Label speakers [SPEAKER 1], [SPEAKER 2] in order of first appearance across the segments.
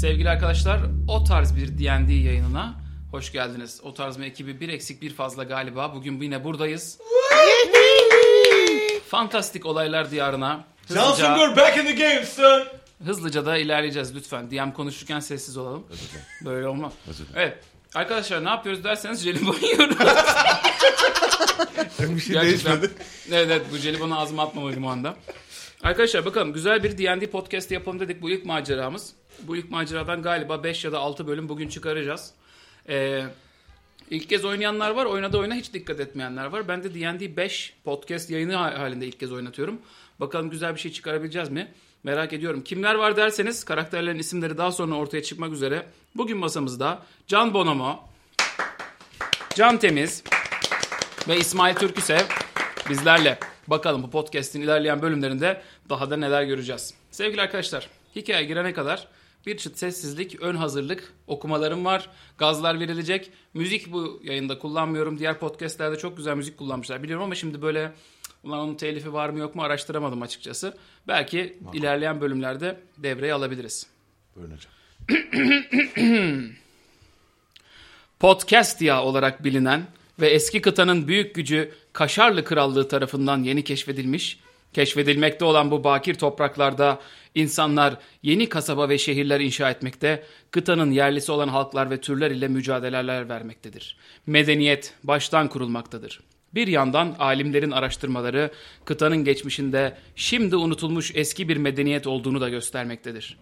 [SPEAKER 1] Sevgili arkadaşlar o tarz bir D&D yayınına hoş geldiniz. O tarz mı ekibi bir eksik bir fazla galiba. Bugün yine buradayız. Fantastik olaylar diyarına
[SPEAKER 2] Johnson
[SPEAKER 1] hızlıca,
[SPEAKER 2] Gurt back in the game son.
[SPEAKER 1] hızlıca da ilerleyeceğiz lütfen. DM konuşurken sessiz olalım. Böyle olmaz.
[SPEAKER 3] Özür dilerim.
[SPEAKER 1] Evet. Arkadaşlar ne yapıyoruz derseniz jelibon yiyoruz.
[SPEAKER 3] Bir şey
[SPEAKER 1] Gerçekten. Evet evet bu jelibonu ağzıma atmamalıyım o anda. Arkadaşlar bakalım güzel bir D&D podcast yapalım dedik. Bu ilk maceramız. Bu ilk maceradan galiba 5 ya da 6 bölüm bugün çıkaracağız. Ee, ilk kez oynayanlar var. Oynadı oyuna hiç dikkat etmeyenler var. Ben de D&D 5 podcast yayını ha- halinde ilk kez oynatıyorum. Bakalım güzel bir şey çıkarabileceğiz mi? Merak ediyorum. Kimler var derseniz karakterlerin isimleri daha sonra ortaya çıkmak üzere. Bugün masamızda Can Bonomo, Can Temiz, ve İsmail Türküsev bizlerle. Bakalım bu podcast'in ilerleyen bölümlerinde daha da neler göreceğiz. Sevgili arkadaşlar, hikaye girene kadar bir çıt sessizlik, ön hazırlık, okumalarım var, gazlar verilecek. Müzik bu yayında kullanmıyorum. Diğer podcastlerde çok güzel müzik kullanmışlar biliyorum ama şimdi böyle ulan onun telifi var mı yok mu araştıramadım açıkçası. Belki ilerleyen bölümlerde devreye alabiliriz.
[SPEAKER 3] Buyurun hocam.
[SPEAKER 1] Podcast yağı olarak bilinen ve eski kıtanın büyük gücü Kaşarlı Krallığı tarafından yeni keşfedilmiş, keşfedilmekte olan bu bakir topraklarda insanlar yeni kasaba ve şehirler inşa etmekte, kıtanın yerlisi olan halklar ve türler ile mücadeleler vermektedir. Medeniyet baştan kurulmaktadır. Bir yandan alimlerin araştırmaları kıtanın geçmişinde şimdi unutulmuş eski bir medeniyet olduğunu da göstermektedir.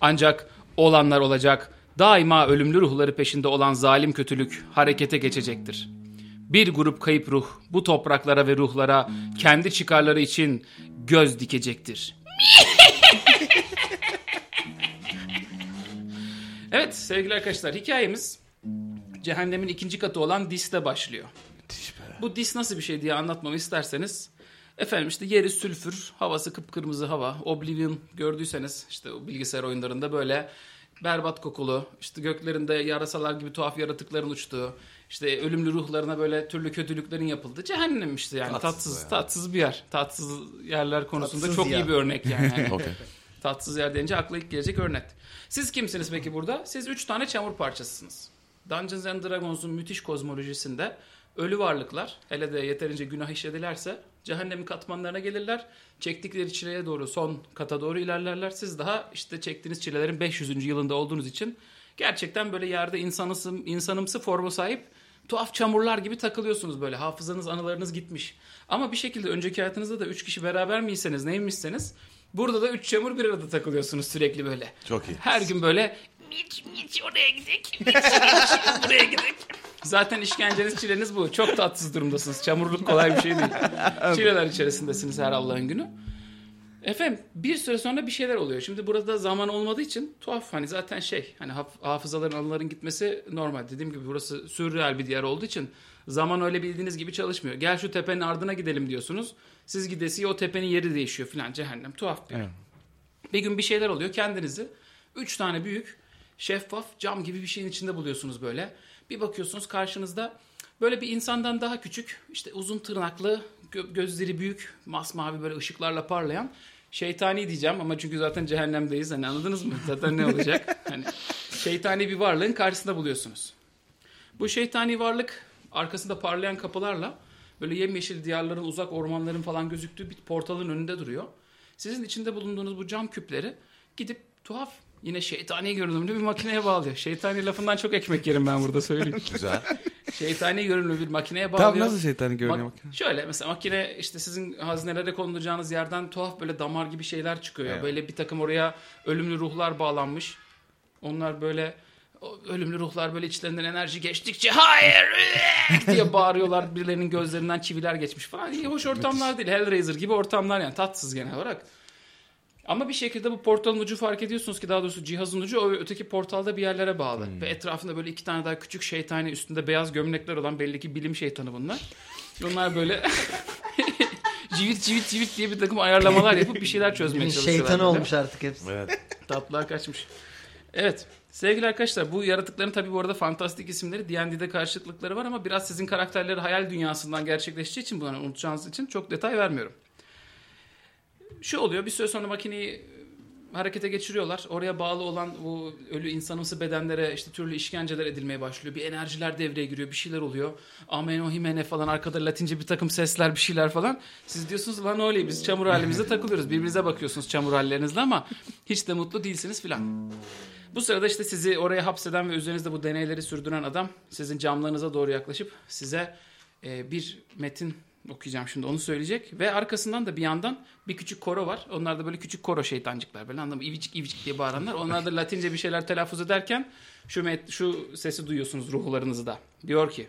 [SPEAKER 1] Ancak olanlar olacak, daima ölümlü ruhları peşinde olan zalim kötülük harekete geçecektir. Bir grup kayıp ruh bu topraklara ve ruhlara kendi çıkarları için göz dikecektir. evet sevgili arkadaşlar hikayemiz cehennemin ikinci katı olan Dis'te başlıyor. Bu dis nasıl bir şey diye anlatmamı isterseniz efendim işte yeri sülfür, havası kıpkırmızı hava. Oblivion gördüyseniz işte o bilgisayar oyunlarında böyle berbat kokulu, işte göklerinde yarasalar gibi tuhaf yaratıkların uçtuğu, işte ölümlü ruhlarına böyle türlü kötülüklerin yapıldığı cehennem işte yani tatsız
[SPEAKER 3] Tatsız
[SPEAKER 1] tatsız,
[SPEAKER 3] ya.
[SPEAKER 1] bir yer. Tatsız yerler konusunda
[SPEAKER 4] Tatsız
[SPEAKER 1] çok
[SPEAKER 4] ya.
[SPEAKER 1] iyi bir örnek yani. yani.
[SPEAKER 3] Okey.
[SPEAKER 1] Tatsız yer deyince akla ilk gelecek örnek. Siz kimsiniz peki burada? Siz 3 tane çamur parçasısınız. Dungeons and Dragons'un müthiş kozmolojisinde ölü varlıklar hele de yeterince günah işledilerse cehennemin katmanlarına gelirler. Çektikleri çileye doğru son kata doğru ilerlerler. Siz daha işte çektiğiniz çilelerin 500. yılında olduğunuz için gerçekten böyle yerde insanısı, insanımsı forma sahip tuhaf çamurlar gibi takılıyorsunuz böyle. Hafızanız, anılarınız gitmiş. Ama bir şekilde önceki hayatınızda da 3 kişi beraber miyseniz, neymişseniz burada da 3 çamur bir arada takılıyorsunuz sürekli böyle.
[SPEAKER 3] Çok iyi.
[SPEAKER 1] Her gün böyle hiç hiç oraya gidek, hiç, hiç buraya gidek. Zaten işkenceniz çileniz bu. Çok tatsız durumdasınız. Çamurluk kolay bir şey değil. Çileler içerisindesiniz her Allah'ın günü. Efendim bir süre sonra bir şeyler oluyor. Şimdi burada zaman olmadığı için tuhaf hani zaten şey hani haf- hafızaların anıların gitmesi normal. Dediğim gibi burası sürreal bir diyar olduğu için zaman öyle bildiğiniz gibi çalışmıyor. Gel şu tepenin ardına gidelim diyorsunuz. Siz gidesi o tepenin yeri değişiyor filan cehennem tuhaf bir. yer. Bir gün bir şeyler oluyor kendinizi üç tane büyük şeffaf cam gibi bir şeyin içinde buluyorsunuz böyle. Bir bakıyorsunuz karşınızda böyle bir insandan daha küçük işte uzun tırnaklı gö- gözleri büyük masmavi böyle ışıklarla parlayan şeytani diyeceğim ama çünkü zaten cehennemdeyiz hani anladınız mı? Zaten ne olacak? hani şeytani bir varlığın karşısında buluyorsunuz. Bu şeytani varlık arkasında parlayan kapılarla böyle yemyeşil diyarların, uzak ormanların falan gözüktüğü bir portalın önünde duruyor. Sizin içinde bulunduğunuz bu cam küpleri gidip tuhaf yine şeytani görünümlü bir makineye bağlıyor. Şeytani lafından çok ekmek yerim ben burada söyleyeyim.
[SPEAKER 3] Güzel.
[SPEAKER 1] şeytani görünümlü bir makineye bağlıyor.
[SPEAKER 4] Tam nasıl şeytanı görünüyor
[SPEAKER 1] Bak-
[SPEAKER 4] bak.
[SPEAKER 1] Şöyle mesela makine işte sizin hazinelere konulacağınız yerden tuhaf böyle damar gibi şeyler çıkıyor. ya.
[SPEAKER 3] Evet.
[SPEAKER 1] Böyle bir takım oraya ölümlü ruhlar bağlanmış. Onlar böyle o ölümlü ruhlar böyle içlerinden enerji geçtikçe hayır "Üeek!" diye bağırıyorlar. Birilerinin gözlerinden çiviler geçmiş falan. İyi hoş ortamlar değil. Hellraiser gibi ortamlar yani tatsız genel olarak. Ama bir şekilde bu portalın ucu fark ediyorsunuz ki daha doğrusu cihazın ucu o öteki portalda bir yerlere bağlı. Ve etrafında böyle iki tane daha küçük şeytani üstünde beyaz gömlekler olan belli ki bilim şeytanı bunlar. Bunlar böyle civit civit civit diye bir takım ayarlamalar yapıp bir şeyler çözmeye çalışıyorlar.
[SPEAKER 4] şeytan
[SPEAKER 1] böyle.
[SPEAKER 4] olmuş artık hepsi.
[SPEAKER 3] Evet.
[SPEAKER 1] Tatlılar kaçmış. Evet. Sevgili arkadaşlar bu yaratıkların tabii bu arada fantastik isimleri D&D'de karşılıkları var ama biraz sizin karakterleri hayal dünyasından gerçekleşeceği için bunu unutacağınız için çok detay vermiyorum. Şu oluyor bir süre sonra makineyi harekete geçiriyorlar. Oraya bağlı olan bu ölü insanımsı bedenlere işte türlü işkenceler edilmeye başlıyor. Bir enerjiler devreye giriyor. Bir şeyler oluyor. Ameno himene falan arkada latince bir takım sesler bir şeyler falan. Siz diyorsunuz lan öyle biz çamur halimizde takılıyoruz. Birbirinize bakıyorsunuz çamur hallerinizle ama hiç de mutlu değilsiniz filan. Bu sırada işte sizi oraya hapseden ve üzerinizde bu deneyleri sürdüren adam sizin camlarınıza doğru yaklaşıp size e, bir metin okuyacağım şimdi onu söyleyecek. Ve arkasından da bir yandan bir küçük koro var. Onlar da böyle küçük koro şeytancıklar böyle anlamı ivicik ivicik diye bağıranlar. Onlar da latince bir şeyler telaffuz ederken şu, met, şu sesi duyuyorsunuz ruhlarınızda. Diyor ki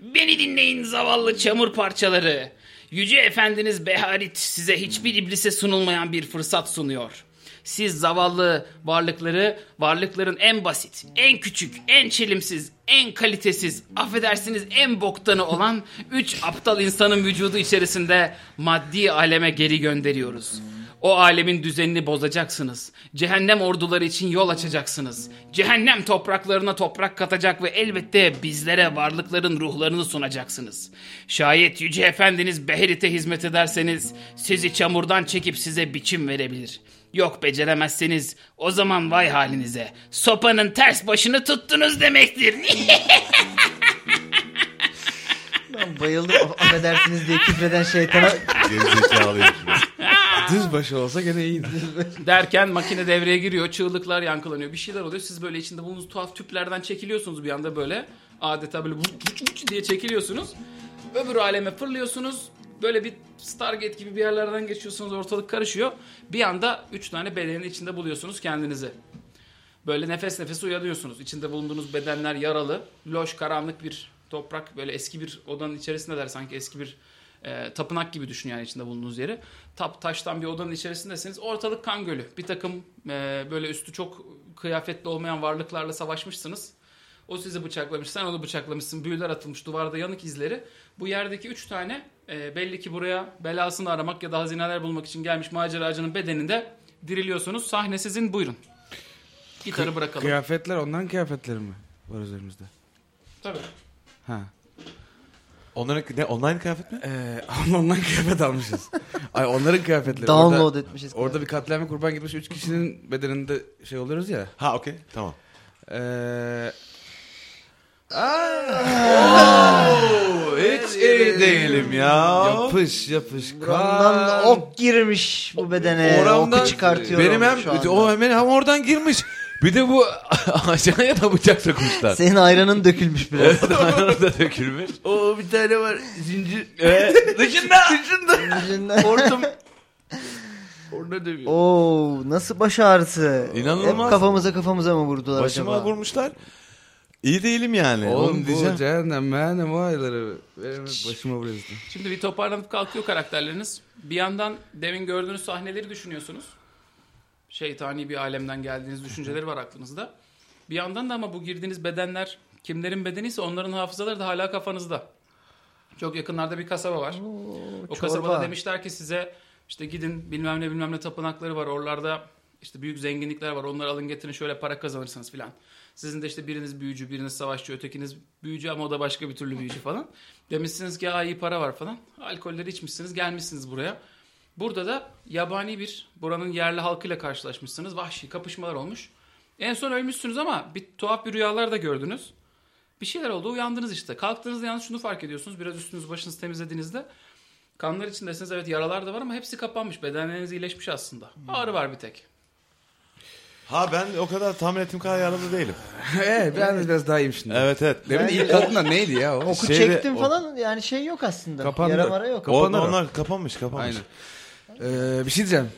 [SPEAKER 1] Beni dinleyin zavallı çamur parçaları. Yüce Efendiniz Beharit size hiçbir iblise sunulmayan bir fırsat sunuyor. Siz zavallı varlıkları, varlıkların en basit, en küçük, en çelimsiz, en kalitesiz, affedersiniz en boktanı olan üç aptal insanın vücudu içerisinde maddi aleme geri gönderiyoruz. O alemin düzenini bozacaksınız. Cehennem orduları için yol açacaksınız. Cehennem topraklarına toprak katacak ve elbette bizlere varlıkların ruhlarını sunacaksınız. Şayet Yüce Efendiniz Beherit'e hizmet ederseniz sizi çamurdan çekip size biçim verebilir. Yok beceremezseniz o zaman vay halinize. Sopanın ters başını tuttunuz demektir.
[SPEAKER 2] Ben bayıldım. Af- Affedersiniz diye küfreden şeytana.
[SPEAKER 3] Gerizekalı herif.
[SPEAKER 4] Düz başı olsa gene iyiydi.
[SPEAKER 1] Derken makine devreye giriyor. Çığlıklar yankılanıyor. Bir şeyler oluyor. Siz böyle içinde bulunduğunuz tuhaf tüplerden çekiliyorsunuz bir anda böyle. Adeta böyle vuç vuç vuç diye çekiliyorsunuz. Öbür aleme fırlıyorsunuz. Böyle bir Stargate gibi bir yerlerden geçiyorsunuz. Ortalık karışıyor. Bir anda 3 tane bedenin içinde buluyorsunuz kendinizi. Böyle nefes nefese uyanıyorsunuz. İçinde bulunduğunuz bedenler yaralı, loş, karanlık bir toprak. Böyle eski bir odanın içerisindeler sanki eski bir e, tapınak gibi düşün yani içinde bulunduğunuz yeri. Tap taştan bir odanın içerisindesiniz. Ortalık kan gölü. Bir takım e, böyle üstü çok kıyafetli olmayan varlıklarla savaşmışsınız. O sizi bıçaklamış, sen onu bıçaklamışsın. Büyüler atılmış, duvarda yanık izleri. Bu yerdeki üç tane e, belli ki buraya belasını aramak ya da hazineler bulmak için gelmiş maceracının bedeninde diriliyorsunuz. Sahne sizin buyurun. Gitarı bırakalım.
[SPEAKER 4] Kıyafetler onların kıyafetleri mi var üzerimizde?
[SPEAKER 1] Tabii.
[SPEAKER 4] Ha.
[SPEAKER 3] Onların ne online kıyafet mi?
[SPEAKER 4] Ee, ondan kıyafet almışız. Ay onların kıyafetleri.
[SPEAKER 2] Download
[SPEAKER 4] Orada-
[SPEAKER 2] etmişiz.
[SPEAKER 4] Orada bir katliama kurban gitmiş 3 kişinin bedeninde şey oluyoruz ya.
[SPEAKER 3] Ha okey tamam.
[SPEAKER 4] Ee,
[SPEAKER 2] Ah!
[SPEAKER 3] Hiç iyi değilim ya.
[SPEAKER 4] yapış yapış.
[SPEAKER 2] Buramdan
[SPEAKER 4] kan.
[SPEAKER 2] ok girmiş bu bedene.
[SPEAKER 4] Oramdan-
[SPEAKER 2] Oku çıkartıyorum
[SPEAKER 3] Benim hem
[SPEAKER 2] şu anda.
[SPEAKER 3] o hemen hem oradan girmiş. Bir de bu aşağıya da bıçak sokmuşlar.
[SPEAKER 2] Senin ayranın dökülmüş biraz.
[SPEAKER 3] Ayranı da dökülmüş.
[SPEAKER 4] Oo bir tane var. Zincir.
[SPEAKER 3] Ee, dışında. dışında.
[SPEAKER 2] Yüzünden.
[SPEAKER 4] Hortum. Orada dövüyor.
[SPEAKER 2] Oo nasıl baş ağrısı.
[SPEAKER 3] İnanılmaz.
[SPEAKER 2] Hep kafamıza kafamıza mı vurdular
[SPEAKER 3] Başıma
[SPEAKER 2] acaba?
[SPEAKER 3] vurmuşlar. İyi değilim yani.
[SPEAKER 4] Oğlum
[SPEAKER 3] Oğlum
[SPEAKER 4] bu
[SPEAKER 3] diyeceğim.
[SPEAKER 4] cehennem mehennem o ayları. Benim başıma vuruyorsun.
[SPEAKER 1] Şimdi bir toparlanıp kalkıyor karakterleriniz. Bir yandan demin gördüğünüz sahneleri düşünüyorsunuz. Şeytani bir alemden geldiğiniz düşünceleri var aklınızda. Bir yandan da ama bu girdiğiniz bedenler kimlerin bedeniyse onların hafızaları da hala kafanızda. Çok yakınlarda bir kasaba var. o
[SPEAKER 2] çorba.
[SPEAKER 1] kasabada demişler ki size işte gidin bilmem ne bilmem ne tapınakları var. Oralarda işte büyük zenginlikler var. Onları alın getirin şöyle para kazanırsınız filan. Sizin de işte biriniz büyücü, biriniz savaşçı, ötekiniz büyücü ama o da başka bir türlü büyücü falan. Demişsiniz ki "Aa, iyi para var falan. Alkolleri içmişsiniz, gelmişsiniz buraya. Burada da yabani bir buranın yerli halkıyla karşılaşmışsınız. Vahşi kapışmalar olmuş. En son ölmüşsünüz ama bir tuhaf bir rüyalar da gördünüz. Bir şeyler oldu uyandınız işte. Kalktığınızda yalnız şunu fark ediyorsunuz. Biraz üstünüz başınızı temizlediğinizde kanlar içindesiniz. Evet yaralar da var ama hepsi kapanmış. Bedenleriniz iyileşmiş aslında. Ağrı var bir tek.
[SPEAKER 3] Ha ben o kadar tahmin ettiğim kadar yaralı değilim.
[SPEAKER 4] ee, ben de biraz daha iyiyim şimdi.
[SPEAKER 3] Evet Şey evet.
[SPEAKER 4] Demin ilk kadınla neydi ya o? şey
[SPEAKER 2] Oku
[SPEAKER 3] Şeyde-
[SPEAKER 2] çektim
[SPEAKER 3] o-
[SPEAKER 2] falan yani şey yok aslında.
[SPEAKER 4] Kapandı.
[SPEAKER 2] Yara mara yok.
[SPEAKER 4] Kapanır
[SPEAKER 3] Orada
[SPEAKER 4] o.
[SPEAKER 3] onlar kapanmış kapanmış.
[SPEAKER 4] Aynen. Ee, bir şey diyeceğim.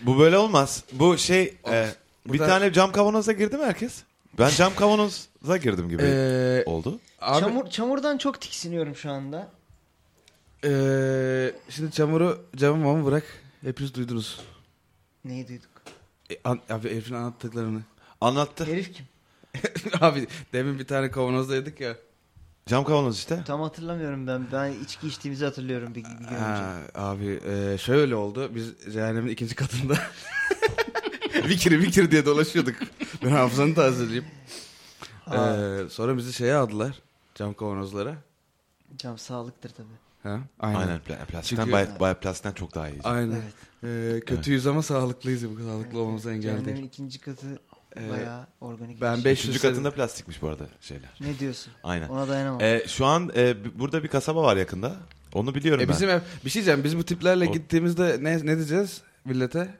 [SPEAKER 3] Bu böyle olmaz. Bu şey e, bir
[SPEAKER 4] Burada-
[SPEAKER 3] tane cam kavanoza girdi mi herkes? Ben cam kavanoza girdim gibi
[SPEAKER 4] Ee,
[SPEAKER 3] oldu.
[SPEAKER 4] abi,
[SPEAKER 2] Çamur, çamurdan çok tiksiniyorum şu anda.
[SPEAKER 4] ee, şimdi çamuru camı mamı bırak. Hepiniz duydunuz.
[SPEAKER 2] Neyi duyduk?
[SPEAKER 4] E, an- abi herifin anlattıklarını.
[SPEAKER 3] Anlattı.
[SPEAKER 2] Herif kim?
[SPEAKER 4] abi demin bir tane kavanozdaydık ya.
[SPEAKER 3] Cam kavanoz işte.
[SPEAKER 2] Tam hatırlamıyorum ben. Ben içki içtiğimizi hatırlıyorum bir, bir gün önce.
[SPEAKER 4] Ha, abi e, şöyle oldu. Biz cehennemin ikinci katında vikiri vikiri diye dolaşıyorduk. Ben hafızanı tazeleyeyim. Ee, sonra bizi şeye aldılar. Cam kavanozlara.
[SPEAKER 2] Cam sağlıktır tabii.
[SPEAKER 4] Ha, aynen.
[SPEAKER 5] Aynen pla- plastikten
[SPEAKER 4] Çünkü-
[SPEAKER 5] baya, baya plastikten çok daha iyi.
[SPEAKER 4] Aynen. Ee, kötüyüz ama sağlıklıyız. Bu sağlıklı olmamıza engel
[SPEAKER 2] Cehennemin
[SPEAKER 4] değil.
[SPEAKER 2] Ee, ikinci katı
[SPEAKER 4] Ee,
[SPEAKER 2] bayağı organik.
[SPEAKER 4] ben
[SPEAKER 2] bir şey.
[SPEAKER 4] beş- E,
[SPEAKER 5] Üçüncü
[SPEAKER 4] Beşli-
[SPEAKER 5] katında plastikmiş bu arada şeyler.
[SPEAKER 2] Ne diyorsun?
[SPEAKER 5] Aynen.
[SPEAKER 2] Ona dayanamam.
[SPEAKER 5] Ee, şu an e, b- burada bir kasaba var yakında. Onu biliyorum
[SPEAKER 4] E
[SPEAKER 5] ben.
[SPEAKER 4] bizim ev, bir şey diyeceğim. Biz bu tiplerle
[SPEAKER 5] O-
[SPEAKER 4] gittiğimizde ne ne diyeceğiz millete?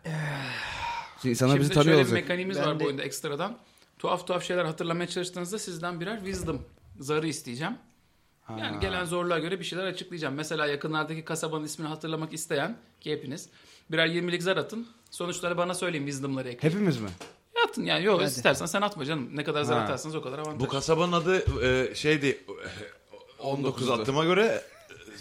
[SPEAKER 4] Şimdi insanlar
[SPEAKER 1] Şimdi
[SPEAKER 4] bizi tanıyor
[SPEAKER 1] şöyle bir
[SPEAKER 4] olacak.
[SPEAKER 1] mekaniğimiz
[SPEAKER 2] Ben
[SPEAKER 1] var
[SPEAKER 2] de-
[SPEAKER 1] bu oyunda ekstradan. Tuhaf tuhaf şeyler hatırlamaya çalıştığınızda sizden birer wisdom zarı isteyeceğim. Yani gelen zorluğa göre bir şeyler açıklayacağım. Mesela yakınlardaki kasabanın ismini hatırlamak isteyen ki hepiniz birer 20'lik zar atın. Sonuçları bana söyleyin wisdom'ları ekleyin.
[SPEAKER 4] Hepimiz mi?
[SPEAKER 1] Atın yani yok
[SPEAKER 2] Hadi.
[SPEAKER 1] istersen sen atma canım. Ne kadar zar
[SPEAKER 4] Ha.
[SPEAKER 1] atarsanız o kadar avantaj.
[SPEAKER 5] Bu kasabanın adı e, şeydi 19
[SPEAKER 4] 19'du.
[SPEAKER 5] attığıma göre e,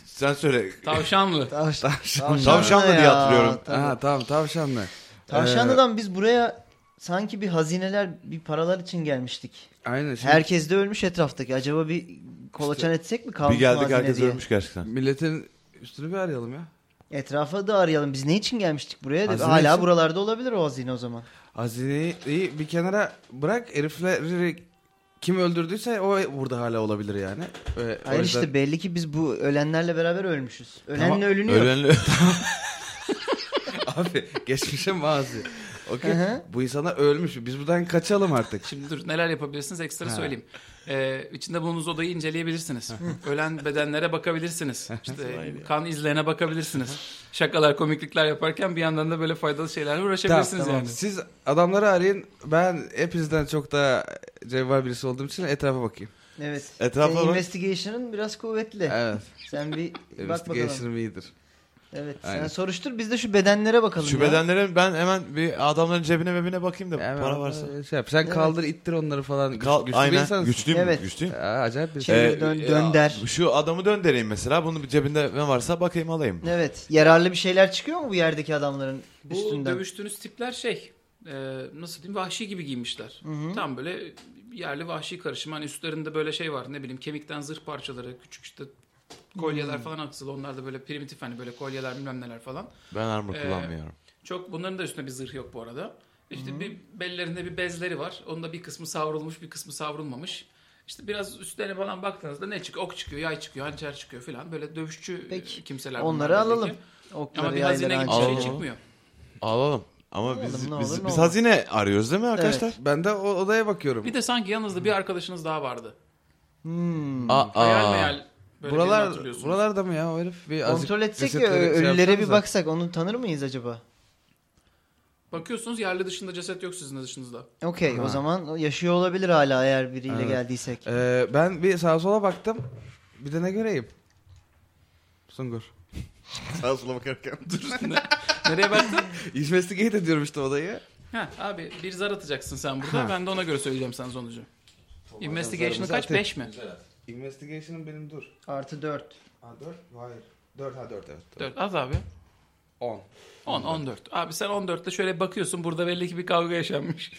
[SPEAKER 5] sen söyle.
[SPEAKER 1] Tavşanlı.
[SPEAKER 2] Tavşan. Tavşanlı,
[SPEAKER 5] Tavşanlı diye
[SPEAKER 2] ya,
[SPEAKER 5] hatırlıyorum.
[SPEAKER 2] tabii.
[SPEAKER 4] Ha e- tamam tavşanlar.
[SPEAKER 2] Tavşanlı'dan biz buraya sanki bir hazineler, bir paralar için gelmiştik.
[SPEAKER 4] Ee, aynen. Şimdi
[SPEAKER 2] Herkes de ölmüş etraftaki. Acaba bir kolaçan etsek mi kalmış
[SPEAKER 5] bir geldik
[SPEAKER 2] hazine
[SPEAKER 5] herkes
[SPEAKER 2] diye.
[SPEAKER 5] ölmüş gerçekten.
[SPEAKER 4] milletin üstünü bir arayalım ya.
[SPEAKER 2] Etrafa da arayalım. Biz ne için gelmiştik buraya?
[SPEAKER 4] Hazine
[SPEAKER 2] Hala
[SPEAKER 4] için-
[SPEAKER 2] buralarda olabilir o hazine o zaman.
[SPEAKER 4] Hazineyi bir kenara bırak. Herifleri kim öldürdüyse o burada hala olabilir yani. Ee, o
[SPEAKER 2] Hayır
[SPEAKER 4] yüzden-
[SPEAKER 2] işte belli ki biz bu ölenlerle beraber ölmüşüz. Ölenle
[SPEAKER 4] Tamam,
[SPEAKER 2] ölünüyor.
[SPEAKER 5] Ölenli
[SPEAKER 4] Abi geçmişe mazi. Okey.
[SPEAKER 2] Hı hı.
[SPEAKER 4] Bu insanlar ölmüş. Biz buradan kaçalım artık.
[SPEAKER 1] Şimdi dur neler yapabilirsiniz ekstra
[SPEAKER 4] Ha.
[SPEAKER 1] söyleyeyim. Ee, içinde bulunduğunuz odayı inceleyebilirsiniz. Ölen bedenlere bakabilirsiniz. İşte kan izlerine bakabilirsiniz. Şakalar, komiklikler yaparken bir yandan da böyle faydalı şeylerle
[SPEAKER 4] Tamam,
[SPEAKER 1] uğraşabilirsiniz
[SPEAKER 4] tamam.
[SPEAKER 1] yani.
[SPEAKER 4] Siz adamları arayın. Ben hepinizden çok daha cevval birisi olduğum için etrafa bakayım.
[SPEAKER 2] Evet.
[SPEAKER 5] Etrafa
[SPEAKER 2] Senin
[SPEAKER 5] bak.
[SPEAKER 2] investigation'ın biraz kuvvetli.
[SPEAKER 4] Evet.
[SPEAKER 2] Sen bir Eh, bak bakalım.
[SPEAKER 4] Investigation'ım iyidir.
[SPEAKER 2] Evet. Sen
[SPEAKER 4] Aynen.
[SPEAKER 2] soruştur biz de şu bedenlere bakalım
[SPEAKER 5] Şu
[SPEAKER 2] ya.
[SPEAKER 5] bedenlerin ben hemen bir adamların cebine mebine bakayım da
[SPEAKER 4] Hemen
[SPEAKER 5] para varsa.
[SPEAKER 4] Şey yap. Sen
[SPEAKER 2] Evet.
[SPEAKER 4] kaldır ittir onları falan. Güç-
[SPEAKER 5] Kal,
[SPEAKER 4] güçlü bir
[SPEAKER 5] aynen.
[SPEAKER 4] insansın.
[SPEAKER 5] Güçlüyüm.
[SPEAKER 2] Evet.
[SPEAKER 5] Güçlüyüm. E,
[SPEAKER 4] Aa, acayip bir
[SPEAKER 2] Şey-
[SPEAKER 4] şey.
[SPEAKER 2] Ee, dön- dönder.
[SPEAKER 5] Şu adamı döndereyim mesela. Bunu bir cebinde ne varsa bakayım alayım.
[SPEAKER 2] Evet. Yararlı bir şeyler çıkıyor mu bu yerdeki adamların
[SPEAKER 1] Bu
[SPEAKER 2] üstünden?
[SPEAKER 1] dövüştüğünüz tipler şey e, nasıl diyeyim vahşi gibi giymişler. Tam böyle yerli vahşi karışım. Hani üstlerinde böyle şey var ne bileyim kemikten zırh parçaları küçük işte kolyeler
[SPEAKER 4] Hmm.
[SPEAKER 1] falan aksıl. Onlar da böyle primitif hani böyle kolyeler bilmem neler falan.
[SPEAKER 5] Ben armor
[SPEAKER 1] Ee,
[SPEAKER 5] kullanmıyorum.
[SPEAKER 1] Çok bunların da üstünde bir zırh yok bu arada. İşte bir bellerinde bir bezleri var. Onun da bir kısmı savrulmuş, bir kısmı savrulmamış. İşte biraz üstlerine falan baktığınızda ne çıkıyor? Ok çıkıyor, yay çıkıyor, hançer çıkıyor falan. Böyle dövüşçü
[SPEAKER 2] Peki.
[SPEAKER 1] e, kimseler. bunlar
[SPEAKER 2] Onları
[SPEAKER 1] belli ki.
[SPEAKER 2] alalım. Okları,
[SPEAKER 1] Ama bir
[SPEAKER 2] yayları,
[SPEAKER 1] hazine gibi
[SPEAKER 2] hançeri.
[SPEAKER 1] bir şey
[SPEAKER 5] Aa.
[SPEAKER 1] çıkmıyor.
[SPEAKER 5] Alalım. Ama
[SPEAKER 2] Alalım,
[SPEAKER 5] biz,
[SPEAKER 2] ne
[SPEAKER 5] biz,
[SPEAKER 2] olur, ne
[SPEAKER 5] biz
[SPEAKER 2] olmaz.
[SPEAKER 5] hazine arıyoruz değil mi arkadaşlar?
[SPEAKER 4] Ben de o odaya bakıyorum.
[SPEAKER 1] Bir de sanki yanınızda bir arkadaşınız daha vardı.
[SPEAKER 2] Hmm.
[SPEAKER 5] Aa,
[SPEAKER 1] Hayal
[SPEAKER 5] aa.
[SPEAKER 1] meyal. Böyle birini
[SPEAKER 4] Buralar
[SPEAKER 1] hatırlıyorsunuz.
[SPEAKER 4] buralarda mı ya o herif? Bir azıcık
[SPEAKER 2] Kontrol etsek ya
[SPEAKER 4] cesetleri şey
[SPEAKER 2] ölülere bir
[SPEAKER 4] yapsanıza.
[SPEAKER 2] baksak onu tanır mıyız acaba?
[SPEAKER 1] Bakıyorsunuz yerli dışında ceset yok sizin dışınızda.
[SPEAKER 2] Okey
[SPEAKER 4] Ha.
[SPEAKER 2] o zaman yaşıyor olabilir hala eğer biriyle
[SPEAKER 4] Evet.
[SPEAKER 2] geldiysek.
[SPEAKER 4] Ee, ben bir sağa sola baktım. Bir de ne göreyim? Sungur.
[SPEAKER 5] Sağa sola bakarken.
[SPEAKER 1] Nereye baktın?
[SPEAKER 4] Investigate ediyorum işte odayı.
[SPEAKER 1] ha, abi bir zar atacaksın sen burada.
[SPEAKER 4] Ha.
[SPEAKER 1] Ben de ona göre söyleyeceğim sana sonucu. Investigation'ı kaç?
[SPEAKER 4] zaten-
[SPEAKER 1] 5 mi?
[SPEAKER 4] Investigation'ım benim dur.
[SPEAKER 2] Artı 4.
[SPEAKER 4] Ha 4? Hayır. 4 ha 4 evet.
[SPEAKER 1] 4. Az abi.
[SPEAKER 4] 10.
[SPEAKER 1] 10, 14. Abi sen 14'te şöyle bakıyorsun burada belli ki bir kavga yaşanmış.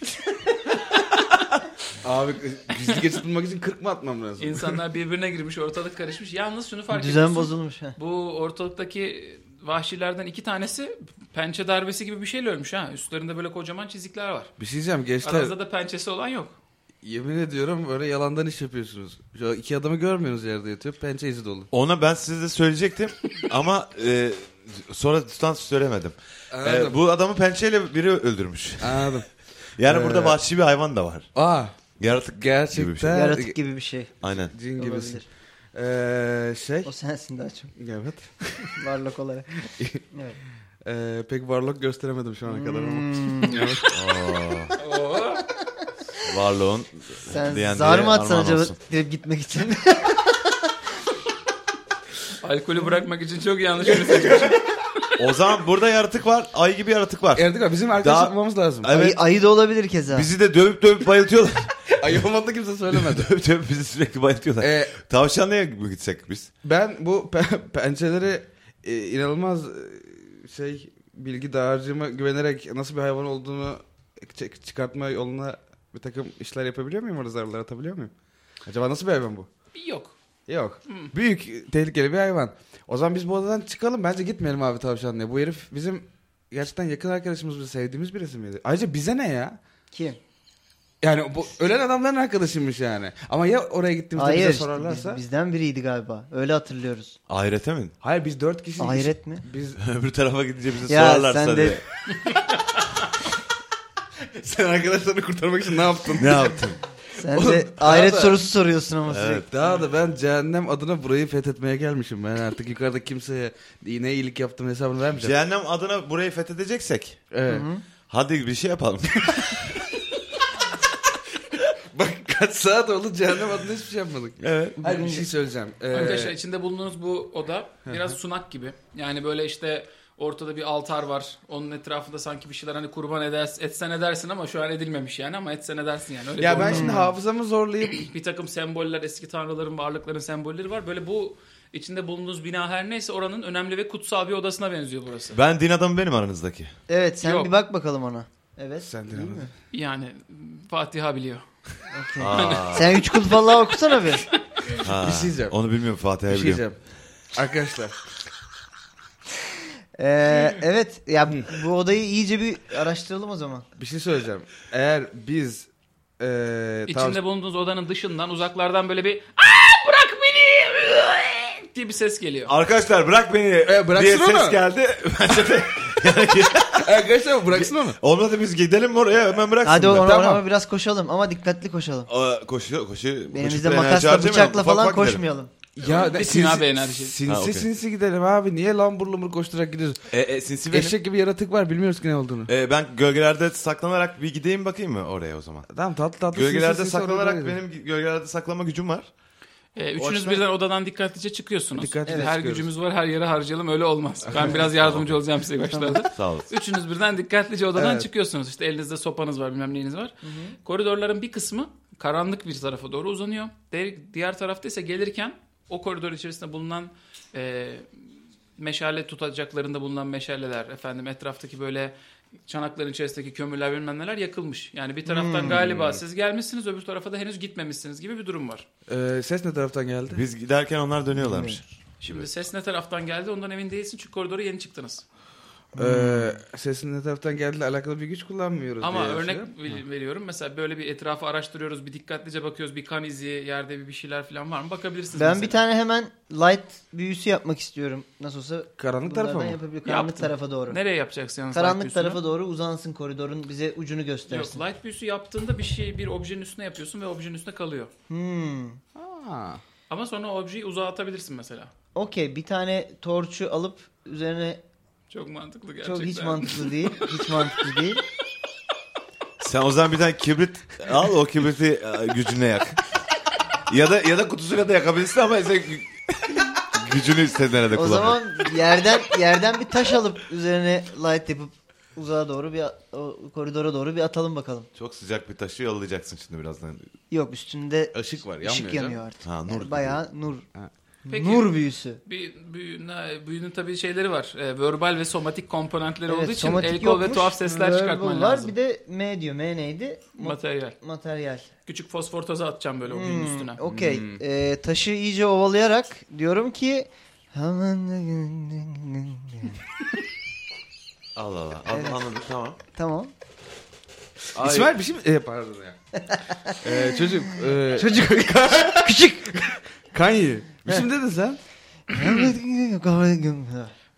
[SPEAKER 4] Abi gizli geçit bulmak için 40 mı atmam lazım?
[SPEAKER 1] İnsanlar birbirine girmiş ortalık karışmış. Yalnız şunu fark
[SPEAKER 2] Düzen
[SPEAKER 1] ediyorsun.
[SPEAKER 2] bozulmuş. ha.
[SPEAKER 1] Bu ortalıktaki vahşilerden iki tanesi pençe darbesi gibi bir şeyle ölmüş ha. Üstlerinde böyle kocaman çizikler var.
[SPEAKER 4] bir şey diyeceğim gençler.
[SPEAKER 1] Aranızda da pençesi olan yok.
[SPEAKER 4] Yemin ediyorum böyle yalandan iş yapıyorsunuz. Şu iki adamı görmüyorsunuz yerde yatıyor. Pençe izi dolu.
[SPEAKER 5] Ona ben size söyleyecektim ama e, sonra tutan söylemedim. E,
[SPEAKER 4] Anladım.
[SPEAKER 5] bu adamı pençeyle biri öldürmüş.
[SPEAKER 4] Anladım.
[SPEAKER 5] Yani
[SPEAKER 4] Ee,
[SPEAKER 5] burada vahşi bir hayvan da var.
[SPEAKER 4] Aa
[SPEAKER 5] Yaratık
[SPEAKER 4] Gerçekten.
[SPEAKER 5] gibi bir şey.
[SPEAKER 2] Yaratık gibi bir şey
[SPEAKER 5] Aynen.
[SPEAKER 4] cin gibisin.
[SPEAKER 2] olabilir.
[SPEAKER 4] Ee, şey.
[SPEAKER 2] O sensin daha çok.
[SPEAKER 4] Evet.
[SPEAKER 2] Varlık olarak. Evet.
[SPEAKER 4] Ee, pek varlık gösteremedim şu ana kadar ama.
[SPEAKER 2] Hmm.
[SPEAKER 4] Evet.
[SPEAKER 5] Varlığın
[SPEAKER 2] Sen
[SPEAKER 5] diyen
[SPEAKER 2] zar
[SPEAKER 5] diye
[SPEAKER 2] mı atsan
[SPEAKER 5] armağan
[SPEAKER 2] acaba
[SPEAKER 5] olsun.
[SPEAKER 2] direkt gitmek için?
[SPEAKER 1] Alkolü bırakmak için çok yanlış bir seçim.
[SPEAKER 5] O zaman burada yaratık var. Ay gibi yaratık var.
[SPEAKER 4] Erdek abi bizim arkadaş
[SPEAKER 5] Daha-
[SPEAKER 4] yapmamız lazım.
[SPEAKER 5] Evet.
[SPEAKER 2] ayı, ayı da olabilir keza.
[SPEAKER 5] Bizi de dövüp dövüp bayıltıyorlar.
[SPEAKER 4] Ayıp olmadı kimse söylemedi.
[SPEAKER 5] dövüp dövüp bizi sürekli bayıltıyorlar.
[SPEAKER 4] Ee,
[SPEAKER 5] Tavşanlı'ya mı gitsek biz?
[SPEAKER 4] ben bu pe- pençeleri e, inanılmaz e, şey bilgi dağarcığıma güvenerek nasıl bir hayvan olduğunu çı- çıkartma yoluna bir takım işler yapabiliyor muyum? Orada zarlar atabiliyor muyum? Acaba nasıl bir hayvan bu?
[SPEAKER 1] yok.
[SPEAKER 4] Yok. Büyük e, tehlikeli bir hayvan. O zaman biz bu odadan çıkalım. Bence gitmeyelim abi tavşanlıya. Bu herif bizim gerçekten yakın arkadaşımız, sevdiğimiz birisi miydi? Ayrıca bize ne ya?
[SPEAKER 2] Kim?
[SPEAKER 4] Yani bu ölen adamların arkadaşıymış yani. Ama ya oraya gittiğimizde
[SPEAKER 2] Hayır
[SPEAKER 4] bize
[SPEAKER 2] işte
[SPEAKER 4] sorarlarsa?
[SPEAKER 2] biz- bizden biriydi galiba. Öyle hatırlıyoruz.
[SPEAKER 5] Ahirete mi?
[SPEAKER 4] Hayır biz dört kişiyiz.
[SPEAKER 2] Hayret mi?
[SPEAKER 4] Biz
[SPEAKER 5] Öbür tarafa gidince bizi
[SPEAKER 2] Ya
[SPEAKER 5] sorarlarsa
[SPEAKER 2] sen de-
[SPEAKER 5] diye.
[SPEAKER 4] sen arkadaşlarını kurtarmak için ne yaptın?
[SPEAKER 5] Ne yaptın?
[SPEAKER 2] Sen
[SPEAKER 4] Oğlum,
[SPEAKER 2] de
[SPEAKER 4] daha
[SPEAKER 2] ahiret
[SPEAKER 4] da-
[SPEAKER 2] sorusu soruyorsun ama sürekli.
[SPEAKER 4] Daha da ben cehennem adına burayı fethetmeye gelmişim. Ben artık yukarıda kimseye ne iyilik yaptım hesabını vermeyeceğim.
[SPEAKER 5] Cehennem adına burayı fethedeceksek.
[SPEAKER 4] Evet.
[SPEAKER 5] Hadi bir şey yapalım.
[SPEAKER 4] Bak kaç saat oldu cehennem adına hiçbir şey yapmadık.
[SPEAKER 5] evet.
[SPEAKER 4] Hayır bir şey söyleyeceğim. Ee,
[SPEAKER 1] Arkadaşlar içinde bulunduğunuz bu oda biraz sunak gibi. Yani böyle işte ortada bir altar var. Onun etrafında sanki bir şeyler hani kurban edersin, etsen edersin ama şu an edilmemiş yani ama etsen edersin yani. Öyle bir
[SPEAKER 4] ya ben
[SPEAKER 1] ortam.
[SPEAKER 2] Hmm.
[SPEAKER 4] şimdi hafızamı zorlayıp
[SPEAKER 1] bir takım semboller, eski tanrıların, varlıkların sembolleri var. Böyle bu içinde bulunduğunuz bina her neyse oranın önemli ve kutsal bir odasına benziyor burası.
[SPEAKER 5] Ben din adamı benim aranızdaki.
[SPEAKER 2] Evet sen
[SPEAKER 1] Yok.
[SPEAKER 2] bir bak bakalım ona. Evet.
[SPEAKER 4] Sen de
[SPEAKER 2] değil
[SPEAKER 4] anladın.
[SPEAKER 2] mi?
[SPEAKER 1] Yani Fatiha biliyor.
[SPEAKER 5] Aa,
[SPEAKER 2] Sen üç kul falan okusana bir.
[SPEAKER 5] ha.
[SPEAKER 4] Bir şey diyeceğim.
[SPEAKER 5] Onu bilmiyorum Fatih
[SPEAKER 4] bir
[SPEAKER 5] abi
[SPEAKER 4] şey
[SPEAKER 5] biliyorum.
[SPEAKER 4] diyeceğim. Arkadaşlar
[SPEAKER 2] Ee, evet ya bu odayı iyice bir araştıralım o zaman.
[SPEAKER 4] bir şey söyleyeceğim. Eğer biz ee,
[SPEAKER 1] İçinde
[SPEAKER 4] tamam,
[SPEAKER 1] bulunduğunuz odanın dışından uzaklardan böyle bir "Aa, bırak beni diye bir ses geliyor.
[SPEAKER 5] Arkadaşlar bırak beni
[SPEAKER 4] E, bıraksın
[SPEAKER 5] diye ses
[SPEAKER 4] onu.
[SPEAKER 5] geldi. Bence de
[SPEAKER 4] Arkadaşlar bıraksın onu.
[SPEAKER 5] olmadı biz gidelim mi oraya hemen bıraksın.
[SPEAKER 2] Hadi ona,
[SPEAKER 5] da.
[SPEAKER 2] ona,
[SPEAKER 4] Tamam.
[SPEAKER 2] ona biraz koşalım ama dikkatli koşalım.
[SPEAKER 5] Aa, koşuyor koşuyor.
[SPEAKER 2] Elimizde makasla bıçakla falan koşmayalım.
[SPEAKER 4] Ya
[SPEAKER 1] Bir
[SPEAKER 4] ne-
[SPEAKER 1] Sinan
[SPEAKER 4] sinsi-
[SPEAKER 1] Bey enerji.
[SPEAKER 4] Sinsi
[SPEAKER 5] Ha, okey.
[SPEAKER 4] sinsi gidelim abi. Niye lambur lumur koşturarak gidiyoruz?
[SPEAKER 5] E, e, sinsi benim.
[SPEAKER 4] Eşek gibi yaratık var bilmiyoruz ki ne olduğunu.
[SPEAKER 5] E, ben gölgelerde saklanarak bir gideyim bakayım mı oraya o zaman?
[SPEAKER 4] Tamam tatlı tatlı sinsi
[SPEAKER 5] Gölgelerde
[SPEAKER 4] sinsi oradan
[SPEAKER 5] saklanarak
[SPEAKER 4] gidelim.
[SPEAKER 5] benim gölgelerde saklama gücüm var.
[SPEAKER 1] Ee, üçünüz
[SPEAKER 5] açıdan-
[SPEAKER 1] birden odadan dikkatlice çıkıyorsunuz.
[SPEAKER 4] Dikkatlice
[SPEAKER 1] her
[SPEAKER 4] çıkıyoruz.
[SPEAKER 1] gücümüz var her yere harcayalım öyle olmaz. Ben biraz yardımcı olacağım size başlarda.
[SPEAKER 5] Sağ ol.
[SPEAKER 1] Üçünüz birden dikkatlice odadan
[SPEAKER 4] Evet.
[SPEAKER 1] çıkıyorsunuz. İşte elinizde sopanız var bilmem neyiniz var. Koridorların bir kısmı karanlık bir tarafa doğru uzanıyor. Diğer, diğer tarafta ise gelirken o koridor içerisinde bulunan e, meşale tutacaklarında bulunan meşaleler efendim etraftaki böyle çanakların içerisindeki kömürler bilmem neler yakılmış. Yani bir taraftan galiba siz gelmişsiniz öbür tarafa da henüz gitmemişsiniz gibi bir durum var.
[SPEAKER 4] Ee, ses ne taraftan geldi?
[SPEAKER 5] Biz giderken onlar dönüyorlarmış.
[SPEAKER 1] Şimdi ses ne taraftan geldi ondan emin değilsin çünkü koridora yeni çıktınız.
[SPEAKER 4] Ee, sesin ne taraftan geldiğiyle alakalı bir güç kullanmıyoruz.
[SPEAKER 1] Ama
[SPEAKER 4] diye
[SPEAKER 1] örnek
[SPEAKER 4] düşünüyorum.
[SPEAKER 1] ver- veriyorum mesela böyle bir etrafı araştırıyoruz bir dikkatlice bakıyoruz bir kan izi yerde bir bir şeyler falan var mı bakabilirsiniz.
[SPEAKER 2] Ben
[SPEAKER 1] mesela.
[SPEAKER 2] bir tane hemen light büyüsü yapmak istiyorum. Nasıl olsa
[SPEAKER 4] Karanlık tarafa
[SPEAKER 2] bunlardan
[SPEAKER 4] mı?
[SPEAKER 2] yapabilir. Karanlık
[SPEAKER 1] Yaptım.
[SPEAKER 2] tarafa doğru.
[SPEAKER 1] Nereye yapacaksın yalnız? light
[SPEAKER 2] Karanlık
[SPEAKER 1] büyüsünü?
[SPEAKER 2] tarafa doğru uzansın koridorun bize ucunu göstersin.
[SPEAKER 1] Yok light büyüsü yaptığında bir şey bir objenin üstüne yapıyorsun ve objenin üstüne kalıyor.
[SPEAKER 2] Hmm.
[SPEAKER 4] Ha.
[SPEAKER 1] Ama sonra o objeyi uzağa atabilirsin mesela.
[SPEAKER 2] Okey bir tane torçu alıp üzerine
[SPEAKER 1] Çok mantıklı gerçekten.
[SPEAKER 2] çok hiç mantıklı değil. Hiç mantıklı değil.
[SPEAKER 5] Sen o zaman bir tane kibrit al o kibriti e, gücüne yak. ya da ya da kutusuyla da yakabilirsin ama sen gü- gücünü istediğine de
[SPEAKER 2] O
[SPEAKER 5] kullan.
[SPEAKER 2] zaman yerden yerden bir taş alıp üzerine light yapıp uzağa doğru bir a- o koridora doğru bir atalım bakalım.
[SPEAKER 5] Çok sıcak bir taşı yollayacaksın şimdi birazdan.
[SPEAKER 2] Yok üstünde
[SPEAKER 4] Işık var yanmıyor.
[SPEAKER 2] ışık
[SPEAKER 4] canım.
[SPEAKER 2] yanıyor artık.
[SPEAKER 5] Ha, nur
[SPEAKER 2] Yani
[SPEAKER 5] gibi.
[SPEAKER 2] bayağı nur.
[SPEAKER 1] Peki.
[SPEAKER 2] Nur büyüsü.
[SPEAKER 1] Bir büyüğün, büyünün tabii şeyleri var. E, verbal ve somatik komponentleri olduğu
[SPEAKER 2] Evet,
[SPEAKER 1] için
[SPEAKER 2] somatik
[SPEAKER 1] el kol
[SPEAKER 2] yokmuş,
[SPEAKER 1] ve tuhaf sesler
[SPEAKER 2] verbal
[SPEAKER 1] çıkartman
[SPEAKER 2] var.
[SPEAKER 1] lazım.
[SPEAKER 2] Bir de M diyor. M neydi? Ma-
[SPEAKER 1] Materyal.
[SPEAKER 2] materyal.
[SPEAKER 1] Küçük fosfor tozu atacağım böyle objenin
[SPEAKER 2] Hmm,
[SPEAKER 1] üstüne.
[SPEAKER 2] Okey. Ee, taşı iyice ovalayarak diyorum ki
[SPEAKER 5] Allah Allah. An-
[SPEAKER 2] Evet.
[SPEAKER 5] Anladım tamam.
[SPEAKER 2] Tamam.
[SPEAKER 5] Ay.
[SPEAKER 4] İsmail bir şey mi? Ee, pardon ya. ee, çocuk. E,
[SPEAKER 2] Çocuk küçük.
[SPEAKER 4] Kanye. Bir şey mi dedin sen?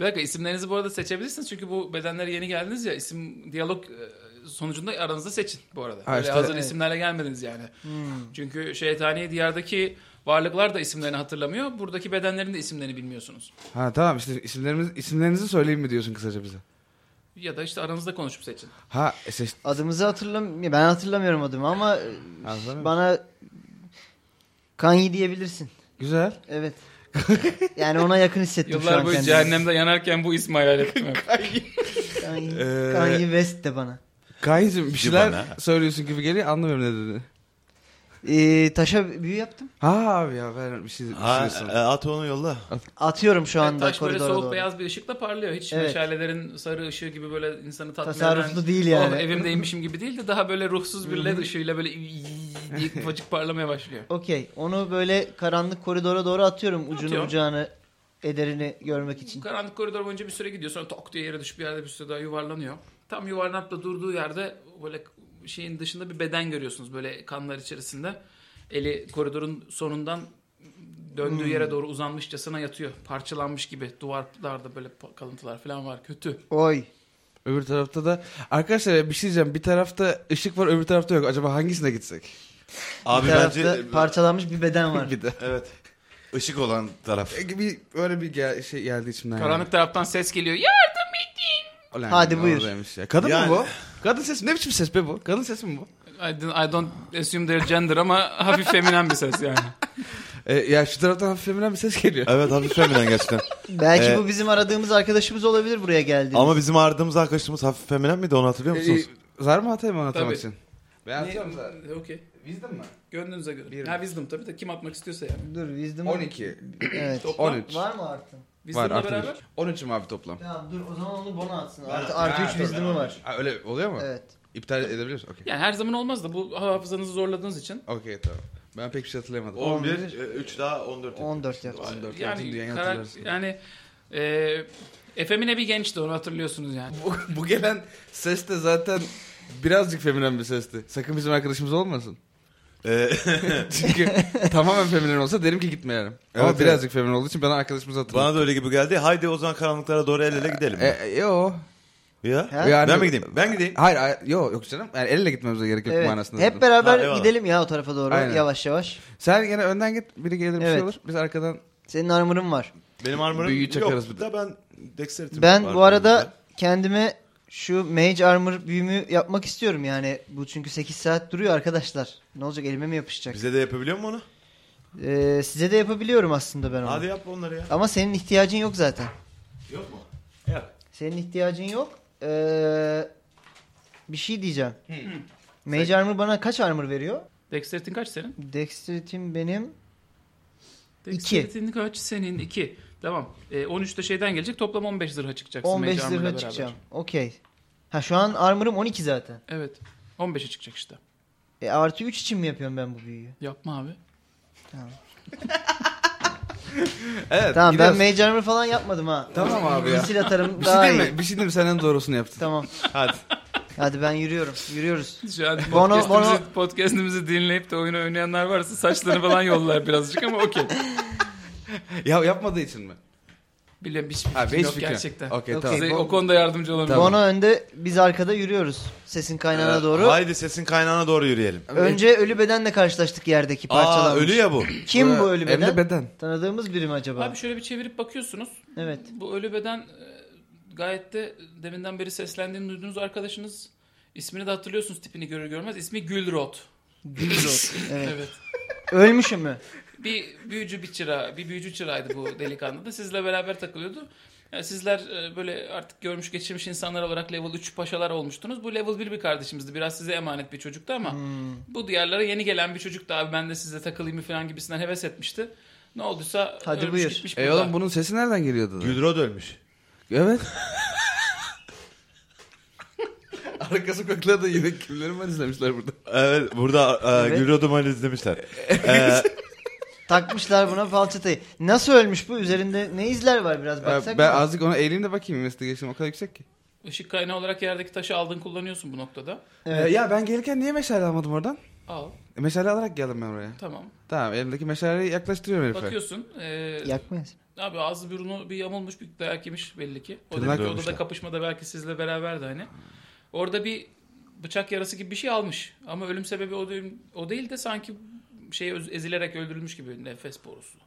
[SPEAKER 1] Bir dakika isimlerinizi bu arada seçebilirsiniz. Çünkü bu bedenlere yeni geldiniz ya isim diyalog e, sonucunda aranızda seçin bu arada.
[SPEAKER 4] Ha,
[SPEAKER 1] Böyle
[SPEAKER 4] işte.
[SPEAKER 1] hazır
[SPEAKER 2] Evet.
[SPEAKER 1] isimlerle gelmediniz yani.
[SPEAKER 2] Hmm.
[SPEAKER 1] Çünkü şeytani diyardaki varlıklar da isimlerini hatırlamıyor. Buradaki bedenlerin de isimlerini bilmiyorsunuz.
[SPEAKER 4] Ha tamam işte isimlerimiz, isimlerinizi söyleyeyim mi diyorsun kısaca bize?
[SPEAKER 1] Ya da işte aranızda konuşup seçin.
[SPEAKER 4] Ha e, seç.
[SPEAKER 2] Adımızı hatırlam ben hatırlamıyorum adımı ama e,
[SPEAKER 4] Hatırlamıyor
[SPEAKER 2] bana Kanye diyebilirsin.
[SPEAKER 4] Güzel.
[SPEAKER 2] Evet. Yani ona yakın hissettim şu an
[SPEAKER 1] Yıllar boyu
[SPEAKER 2] kendimi.
[SPEAKER 1] cehennemde yanarken bu ismi hayal ettim.
[SPEAKER 2] Kanye,
[SPEAKER 4] Ee,
[SPEAKER 2] Kanye West de bana.
[SPEAKER 4] Kanye'cim bir şeyler
[SPEAKER 5] bana.
[SPEAKER 4] söylüyorsun gibi geliyor anlamıyorum ne dediğini.
[SPEAKER 2] Ee, taşa büyü yaptım.
[SPEAKER 4] Ha abi ya ben bir şey
[SPEAKER 5] Ha,
[SPEAKER 4] düşünüyorsun.
[SPEAKER 5] e, at onu yolla.
[SPEAKER 2] Atıyorum şu anda
[SPEAKER 1] Taş böyle
[SPEAKER 2] koridora
[SPEAKER 1] soğuk
[SPEAKER 2] doğru.
[SPEAKER 1] beyaz bir ışıkla parlıyor. Hiç
[SPEAKER 2] Evet.
[SPEAKER 1] meşalelerin sarı ışığı gibi böyle insanı tatmin
[SPEAKER 2] Tasarruflu
[SPEAKER 1] eden,
[SPEAKER 2] değil yani.
[SPEAKER 1] "Oh, evimdeymişim gibi değil de daha böyle ruhsuz bir led ışığıyla böyle diye ufacık parlamaya başlıyor.
[SPEAKER 2] Okey. Onu böyle karanlık koridora doğru atıyorum ucunu
[SPEAKER 1] Atıyorum.
[SPEAKER 2] ucağını ederini görmek için.
[SPEAKER 1] Karanlık koridor boyunca bir süre gidiyor. Sonra tok diye yere düşüp bir yerde bir süre daha yuvarlanıyor. Tam yuvarlanıp da durduğu yerde böyle şeyin dışında bir beden görüyorsunuz böyle kanlar içerisinde. Eli koridorun sonundan döndüğü yere doğru uzanmışçasına yatıyor. Parçalanmış gibi duvarlarda böyle pa- kalıntılar falan var. Kötü.
[SPEAKER 2] Oy.
[SPEAKER 4] Öbür tarafta da arkadaşlar bir şey diyeceğim. Bir tarafta ışık var, öbür tarafta yok. Acaba hangisine gitsek?
[SPEAKER 5] Abi
[SPEAKER 2] bir tarafta
[SPEAKER 5] bence e,
[SPEAKER 2] parçalanmış bir beden var.
[SPEAKER 4] bir de.
[SPEAKER 5] evet. Işık olan taraf.
[SPEAKER 4] E, Bir, öyle bir gel- şey geldi içimden.
[SPEAKER 1] Karanlık taraftan ses geliyor. Yardım edin.
[SPEAKER 4] Ulan,
[SPEAKER 2] Hadi buyur.
[SPEAKER 4] oradaymış ya. Kadın
[SPEAKER 5] Yani.
[SPEAKER 4] mı bu? Kadın sesi ne biçim ses be bu? Kadın sesi mi bu?
[SPEAKER 1] I don't, I don't assume their gender ama hafif feminen bir ses yani.
[SPEAKER 4] E, ya şu taraftan hafif feminen bir ses geliyor.
[SPEAKER 5] Evet hafif feminen gerçekten.
[SPEAKER 2] Belki
[SPEAKER 5] Ee,
[SPEAKER 2] bu bizim aradığımız arkadaşımız olabilir buraya geldiğimiz.
[SPEAKER 5] Ama bizim ağırladığımız arkadaşımız hafif feminen miydi onu hatırlıyor
[SPEAKER 4] E,
[SPEAKER 5] musunuz?
[SPEAKER 4] zar mı atayım onu atmak
[SPEAKER 1] Tabii.
[SPEAKER 4] için? Ben atıyorum zar.
[SPEAKER 1] Ne- Okey.
[SPEAKER 4] Wisdom mı?
[SPEAKER 1] Gönlünüze göre.
[SPEAKER 4] Bir-
[SPEAKER 1] ha wisdom tabii de kim atmak istiyorsa yani.
[SPEAKER 2] Dur wisdom.
[SPEAKER 4] 12.
[SPEAKER 2] Evet.
[SPEAKER 1] Toplam
[SPEAKER 4] 13.
[SPEAKER 2] Var mı artı?
[SPEAKER 4] Var
[SPEAKER 1] wisdom'la
[SPEAKER 4] artı
[SPEAKER 1] beraber.
[SPEAKER 4] 13. 13'üm abi toplam.
[SPEAKER 2] Tamam dur o zaman onu bona atsın. Artı, artı 3 wisdom'ı var.
[SPEAKER 4] Ha, öyle oluyor mu?
[SPEAKER 2] Evet.
[SPEAKER 4] İptal edebiliriz. Okey.
[SPEAKER 1] Yani her zaman olmaz da bu hafızanızı zorladığınız için.
[SPEAKER 4] Okey tamam. Ben pek bir şey hatırlayamadım.
[SPEAKER 5] 11, 3 e, daha 14.
[SPEAKER 2] 14 yaptı.
[SPEAKER 4] 14. bütün
[SPEAKER 1] Yani
[SPEAKER 4] dünyayı
[SPEAKER 1] karak,
[SPEAKER 4] hatırlarsın.
[SPEAKER 1] yani e, efemine bir gençti onu hatırlıyorsunuz yani.
[SPEAKER 4] Bu, bu gelen ses de zaten birazcık feminen bir sesti. Sakın bizim arkadaşımız olmasın.
[SPEAKER 5] Ee,
[SPEAKER 4] Çünkü tamamen feminen olsa derim ki gitmeyelim. Ama
[SPEAKER 5] Evet,
[SPEAKER 4] birazcık feminen olduğu için bana arkadaşımız hatırladı.
[SPEAKER 5] bana da öyle gibi geldi. Haydi o zaman karanlıklara doğru el ele gidelim.
[SPEAKER 4] E, e, yo.
[SPEAKER 5] ya.
[SPEAKER 2] Ha?
[SPEAKER 4] Yani-
[SPEAKER 5] Ben mi gideyim? Ben gideyim.
[SPEAKER 4] Hayır, hayır yo yok canım. Yani elle gitmemize gerek yok
[SPEAKER 2] Evet.
[SPEAKER 4] manasında.
[SPEAKER 2] Hep
[SPEAKER 4] dedim.
[SPEAKER 2] beraber
[SPEAKER 5] Ha, eyvallah.
[SPEAKER 2] gidelim ya o tarafa doğru.
[SPEAKER 4] Aynen.
[SPEAKER 2] Yavaş yavaş.
[SPEAKER 4] Sen gene önden git. Biri gelir bir şey
[SPEAKER 2] Evet.
[SPEAKER 4] olur. Biz arkadan
[SPEAKER 2] Senin armor'ın var.
[SPEAKER 5] Benim armorum
[SPEAKER 4] Büyüyü çakarız bir
[SPEAKER 5] yok da ben dexterity'm
[SPEAKER 2] Ben
[SPEAKER 5] var
[SPEAKER 2] bu arada
[SPEAKER 5] benim de.
[SPEAKER 2] kendime şu mage armor büyümü yapmak istiyorum yani. Bu çünkü 8 saat duruyor arkadaşlar. Ne olacak elime mi yapışacak?
[SPEAKER 5] Bize de yapabiliyor mu onu?
[SPEAKER 2] Ee, size de yapabiliyorum aslında ben onu.
[SPEAKER 5] Hadi yap onları ya.
[SPEAKER 2] Ama senin ihtiyacın yok zaten.
[SPEAKER 5] Yok mu? Yok.
[SPEAKER 2] Senin ihtiyacın yok. Ee, bir şey diyeceğim. Mage armor bana kaç armor veriyor?
[SPEAKER 1] Dexterity'in kaç senin?
[SPEAKER 2] Dexterity'm benim İki.
[SPEAKER 1] Dexterity'in kaç senin? 2. Tamam. E, 13'te şeyden gelecek toplam 15 zırha çıkacaksın.
[SPEAKER 2] 15
[SPEAKER 1] Mage Armor'la
[SPEAKER 2] zırha
[SPEAKER 1] beraber.
[SPEAKER 2] çıkacağım. Okey. Ha şu an armor'ım 12 zaten.
[SPEAKER 1] Evet. 15'e çıkacak işte.
[SPEAKER 2] E artı 3 için mi yapıyorum ben bu büyüyü?
[SPEAKER 1] Yapma abi.
[SPEAKER 4] Evet.
[SPEAKER 2] Tamam
[SPEAKER 4] gidiyoruz.
[SPEAKER 2] ben mage armor falan yapmadım ha.
[SPEAKER 4] Tamam abi ya.
[SPEAKER 2] Misil atarım
[SPEAKER 4] Bir şey
[SPEAKER 2] daha
[SPEAKER 4] değil
[SPEAKER 2] iyi.
[SPEAKER 4] mi? Bir şey değil mi? Sen en doğrusunu yaptın.
[SPEAKER 2] Tamam.
[SPEAKER 5] Hadi.
[SPEAKER 2] Hadi ben yürüyorum. Yürüyoruz.
[SPEAKER 1] Şu an
[SPEAKER 2] Bono-
[SPEAKER 1] podcastimizi, podcastimizi dinleyip de oyunu oynayanlar varsa saçlarını falan yollar birazcık ama okey.
[SPEAKER 4] Ya yapmadığı için mi?
[SPEAKER 1] Bilmiyorum hiçbir
[SPEAKER 4] Ha,
[SPEAKER 1] fikrim
[SPEAKER 4] hiç
[SPEAKER 1] yok
[SPEAKER 4] fikrim.
[SPEAKER 1] gerçekten.
[SPEAKER 4] Okey
[SPEAKER 2] Yok,
[SPEAKER 4] tamam.
[SPEAKER 1] Size o konuda yardımcı olamayacağım.
[SPEAKER 2] Bono önde biz arkada yürüyoruz. Sesin kaynağına
[SPEAKER 5] Ee,
[SPEAKER 2] doğru.
[SPEAKER 5] Haydi sesin kaynağına doğru yürüyelim.
[SPEAKER 2] Önce ölü bedenle karşılaştık yerdeki
[SPEAKER 5] Aa
[SPEAKER 2] parçalanmış.
[SPEAKER 5] ölü ya bu.
[SPEAKER 2] Kim bu ölü
[SPEAKER 4] Ee, Hem
[SPEAKER 2] beden?
[SPEAKER 4] de beden.
[SPEAKER 2] Tanıdığımız biri mi acaba?
[SPEAKER 1] Abi şöyle bir çevirip bakıyorsunuz.
[SPEAKER 2] Evet.
[SPEAKER 1] Bu ölü beden e, gayet de deminden beri seslendiğini duyduğunuz arkadaşınız ismini de hatırlıyorsunuz tipini görür görmez. İsmi Gülrot.
[SPEAKER 2] Gülrot. Evet.
[SPEAKER 1] Evet.
[SPEAKER 2] Ölmüş mü?
[SPEAKER 1] bir büyücü bir çırağı, bir büyücü çırağıydı bu delikanlı da. Sizle beraber takılıyordu. Yani sizler e, böyle artık görmüş geçirmiş insanlar olarak level 3 paşalar olmuştunuz. Bu level 1 bir kardeşimizdi. Biraz size emanet bir çocuktu ama
[SPEAKER 2] Hmm.
[SPEAKER 1] bu diyarlara yeni gelen bir çocuktu. Abi ben de sizle takılayım mı falan gibisinden heves etmişti. Ne olduysa
[SPEAKER 2] Hadi
[SPEAKER 1] ölmüş
[SPEAKER 2] buyur.
[SPEAKER 1] gitmiş
[SPEAKER 4] E
[SPEAKER 1] burada.
[SPEAKER 4] oğlum bunun sesi nereden geliyordu? da?
[SPEAKER 5] Gülrod ölmüş.
[SPEAKER 4] Evet. Arkası kokladı yine kimleri ben izlemişler burada.
[SPEAKER 5] Evet burada e,
[SPEAKER 2] Evet.
[SPEAKER 5] Gülrod'u mal izlemişler. Ee,
[SPEAKER 2] Takmışlar buna falçatayı. Nasıl ölmüş bu? Üzerinde ne izler var biraz baksak
[SPEAKER 4] ben
[SPEAKER 2] mı?
[SPEAKER 4] azıcık ona eğileyim de bakayım investigation o kadar yüksek ki.
[SPEAKER 1] Işık kaynağı olarak yerdeki taşı aldın kullanıyorsun bu noktada.
[SPEAKER 2] Evet.
[SPEAKER 4] Ee, ya ben gelirken niye meşale almadım oradan?
[SPEAKER 1] Al
[SPEAKER 4] E, meşale alarak geldim ben oraya.
[SPEAKER 1] tamam.
[SPEAKER 4] Tamam elimdeki meşaleyi yaklaştırıyorum herife.
[SPEAKER 1] Bakıyorsun. ee,
[SPEAKER 2] Yakmayız.
[SPEAKER 1] Abi ağzı burnu bir yamulmuş bir dayak yemiş belli ki. O
[SPEAKER 5] Tırnak
[SPEAKER 1] demek ki
[SPEAKER 5] dövmüşler.
[SPEAKER 1] odada kapışmada belki sizle beraberdi hani. Orada bir bıçak yarası gibi bir şey almış. Ama ölüm sebebi o değil, o değil de sanki şey öz- ezilerek öldürülmüş gibi nefes borusu.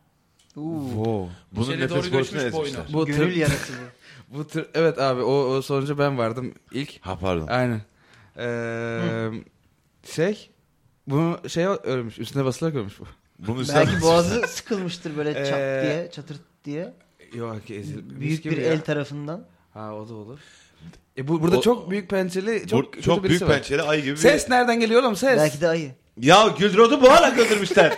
[SPEAKER 2] Uuu.
[SPEAKER 4] Wow.
[SPEAKER 5] bunun
[SPEAKER 1] İçeri
[SPEAKER 5] nefes
[SPEAKER 1] doğru
[SPEAKER 5] borusunu
[SPEAKER 1] göçmüş boynu.
[SPEAKER 5] ezmişler.
[SPEAKER 4] Bu
[SPEAKER 2] Gönül
[SPEAKER 4] tır,
[SPEAKER 2] yarası bu.
[SPEAKER 4] bu tır, evet abi o, o sonuca ben vardım ilk.
[SPEAKER 5] Ha pardon.
[SPEAKER 4] Aynen. Ee, şey bunu şey ölmüş üstüne basılarak ölmüş bu.
[SPEAKER 5] Bunun üstüne
[SPEAKER 2] Belki boğazı sıkılmıştır böyle çat
[SPEAKER 4] Ee,
[SPEAKER 2] diye, çatırt diye.
[SPEAKER 4] Yok ki ezilmiş
[SPEAKER 2] Büyük
[SPEAKER 4] gibi
[SPEAKER 2] bir
[SPEAKER 4] ya.
[SPEAKER 2] el tarafından.
[SPEAKER 4] Ha o da olur. E bu, burada
[SPEAKER 5] O-
[SPEAKER 4] çok büyük pençeli çok
[SPEAKER 5] çok,
[SPEAKER 4] kötü
[SPEAKER 5] çok
[SPEAKER 4] birisi
[SPEAKER 5] büyük
[SPEAKER 4] var.
[SPEAKER 5] pençeli ay gibi
[SPEAKER 4] Ses
[SPEAKER 5] bir...
[SPEAKER 4] nereden geliyor oğlum ses?
[SPEAKER 2] Belki de ayı.
[SPEAKER 5] Ya Gülrod'u boğarak öldürmüşler.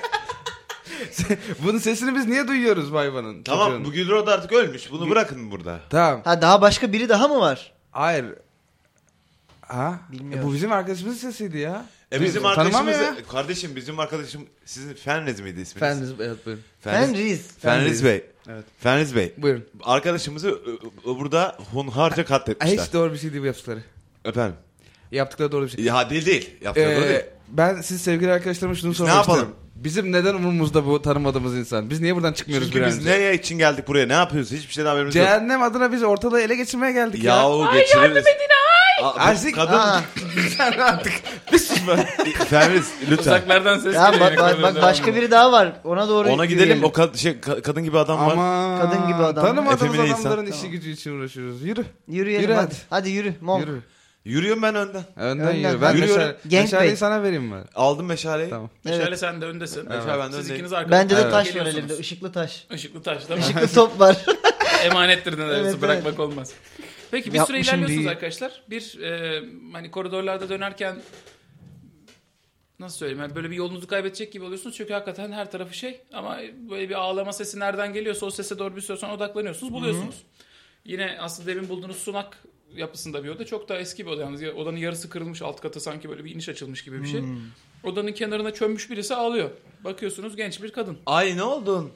[SPEAKER 4] Bunun sesini biz niye duyuyoruz bu hayvanın?
[SPEAKER 5] tamam
[SPEAKER 4] çocuğun?
[SPEAKER 5] bu Gülrod artık ölmüş. Bunu bırakın burada.
[SPEAKER 4] Tamam.
[SPEAKER 2] Ha daha başka biri daha mı var?
[SPEAKER 4] Hayır. Ha?
[SPEAKER 2] Bilmiyorum.
[SPEAKER 4] E, bu bizim arkadaşımızın sesiydi ya.
[SPEAKER 5] E bizim
[SPEAKER 4] Tanımam
[SPEAKER 5] arkadaşımız...
[SPEAKER 4] ya.
[SPEAKER 5] Kardeşim bizim arkadaşım... Sizin Fenriz miydi isminiz?
[SPEAKER 4] Efendiniz evet buyurun.
[SPEAKER 5] Fenriz.
[SPEAKER 2] Fenris.
[SPEAKER 5] Fenriz Bey.
[SPEAKER 4] Evet.
[SPEAKER 5] Fenriz Bey.
[SPEAKER 4] Buyurun.
[SPEAKER 5] Arkadaşımızı ö, ö, ıı, burada hunharca
[SPEAKER 4] Ay,
[SPEAKER 5] katletmişler.
[SPEAKER 4] hiç doğru bir şey değil bu yaptıkları.
[SPEAKER 5] Efendim.
[SPEAKER 4] Yaptıkları doğru bir şey.
[SPEAKER 5] Ya değil değil. Yaptıkları doğru değil.
[SPEAKER 4] Ee, ben siz sevgili arkadaşlarıma şunu sormak
[SPEAKER 5] yapalım?
[SPEAKER 4] istiyorum. Bizim neden umurumuzda bu tanımadığımız insan? Biz niye buradan çıkmıyoruz
[SPEAKER 5] Çünkü
[SPEAKER 4] bir
[SPEAKER 5] biz
[SPEAKER 4] an önce?
[SPEAKER 5] nereye için geldik buraya? Ne yapıyoruz? Hiçbir şeyden haberimiz yok.
[SPEAKER 4] Cehennem adına biz ortalığı ele geçirmeye geldik ya.
[SPEAKER 5] Yahu geçiririz. Ay yardım edin ay.
[SPEAKER 4] Erzik-
[SPEAKER 5] kadın
[SPEAKER 2] Aa,
[SPEAKER 5] Feris lütfen.
[SPEAKER 1] Uzaklardan ses
[SPEAKER 2] ya
[SPEAKER 1] geliyor.
[SPEAKER 2] bak, bak, bak
[SPEAKER 1] yakalardan.
[SPEAKER 2] başka biri daha var. Ona doğru
[SPEAKER 5] Ona gidelim.
[SPEAKER 2] yürüyelim.
[SPEAKER 5] O kad- şey, ka- kadın gibi adam var.
[SPEAKER 4] Ama
[SPEAKER 2] Kadın gibi adam.
[SPEAKER 4] Tanımadığımız
[SPEAKER 5] Efemine insan.
[SPEAKER 4] adamların işi gücü için uğraşıyoruz. Yürü.
[SPEAKER 2] Yürüyelim
[SPEAKER 4] Yürü
[SPEAKER 2] hadi.
[SPEAKER 4] hadi.
[SPEAKER 2] Hadi yürü. Mom.
[SPEAKER 4] Yürü.
[SPEAKER 5] Yürüyorum ben önden.
[SPEAKER 4] Önden,
[SPEAKER 2] Önden
[SPEAKER 4] yürü.
[SPEAKER 2] ben-
[SPEAKER 4] Ben
[SPEAKER 5] Yürüyorum.
[SPEAKER 4] meşale,
[SPEAKER 2] Gangbang.
[SPEAKER 4] meşaleyi sana vereyim ben.
[SPEAKER 5] Aldım meşaleyi.
[SPEAKER 4] Tamam.
[SPEAKER 1] Meşale
[SPEAKER 2] Evet.
[SPEAKER 1] sen de öndesin.
[SPEAKER 5] Meşale ben de
[SPEAKER 1] Siz
[SPEAKER 5] öndeyim.
[SPEAKER 1] ikiniz arkada.
[SPEAKER 2] Bende de
[SPEAKER 4] Evet.
[SPEAKER 2] taş var
[SPEAKER 1] Geliyorsunuz.
[SPEAKER 2] elimde. Işıklı taş.
[SPEAKER 1] Işıklı taş tamam.
[SPEAKER 2] Işıklı top var.
[SPEAKER 1] Emanettir ne dersin,
[SPEAKER 2] Evet, evet.
[SPEAKER 1] bırakmak olmaz. Peki bir süre
[SPEAKER 2] Yapmışım
[SPEAKER 1] ilerliyorsunuz
[SPEAKER 2] değil.
[SPEAKER 1] arkadaşlar. Bir e, hani koridorlarda dönerken nasıl söyleyeyim yani böyle bir yolunuzu kaybedecek gibi oluyorsunuz. Çünkü hakikaten her tarafı şey ama böyle bir ağlama sesi nereden geliyorsa o sese doğru bir süre sonra odaklanıyorsunuz buluyorsunuz. Yine aslında demin bulduğunuz sunak yapısında bir oda. Çok daha eski bir oda yalnız. Ya- Odanın yarısı kırılmış alt katı sanki böyle bir iniş açılmış gibi bir şey. Odanın kenarına çömmüş birisi ağlıyor. Bakıyorsunuz genç bir kadın.
[SPEAKER 5] Ay ne oldun?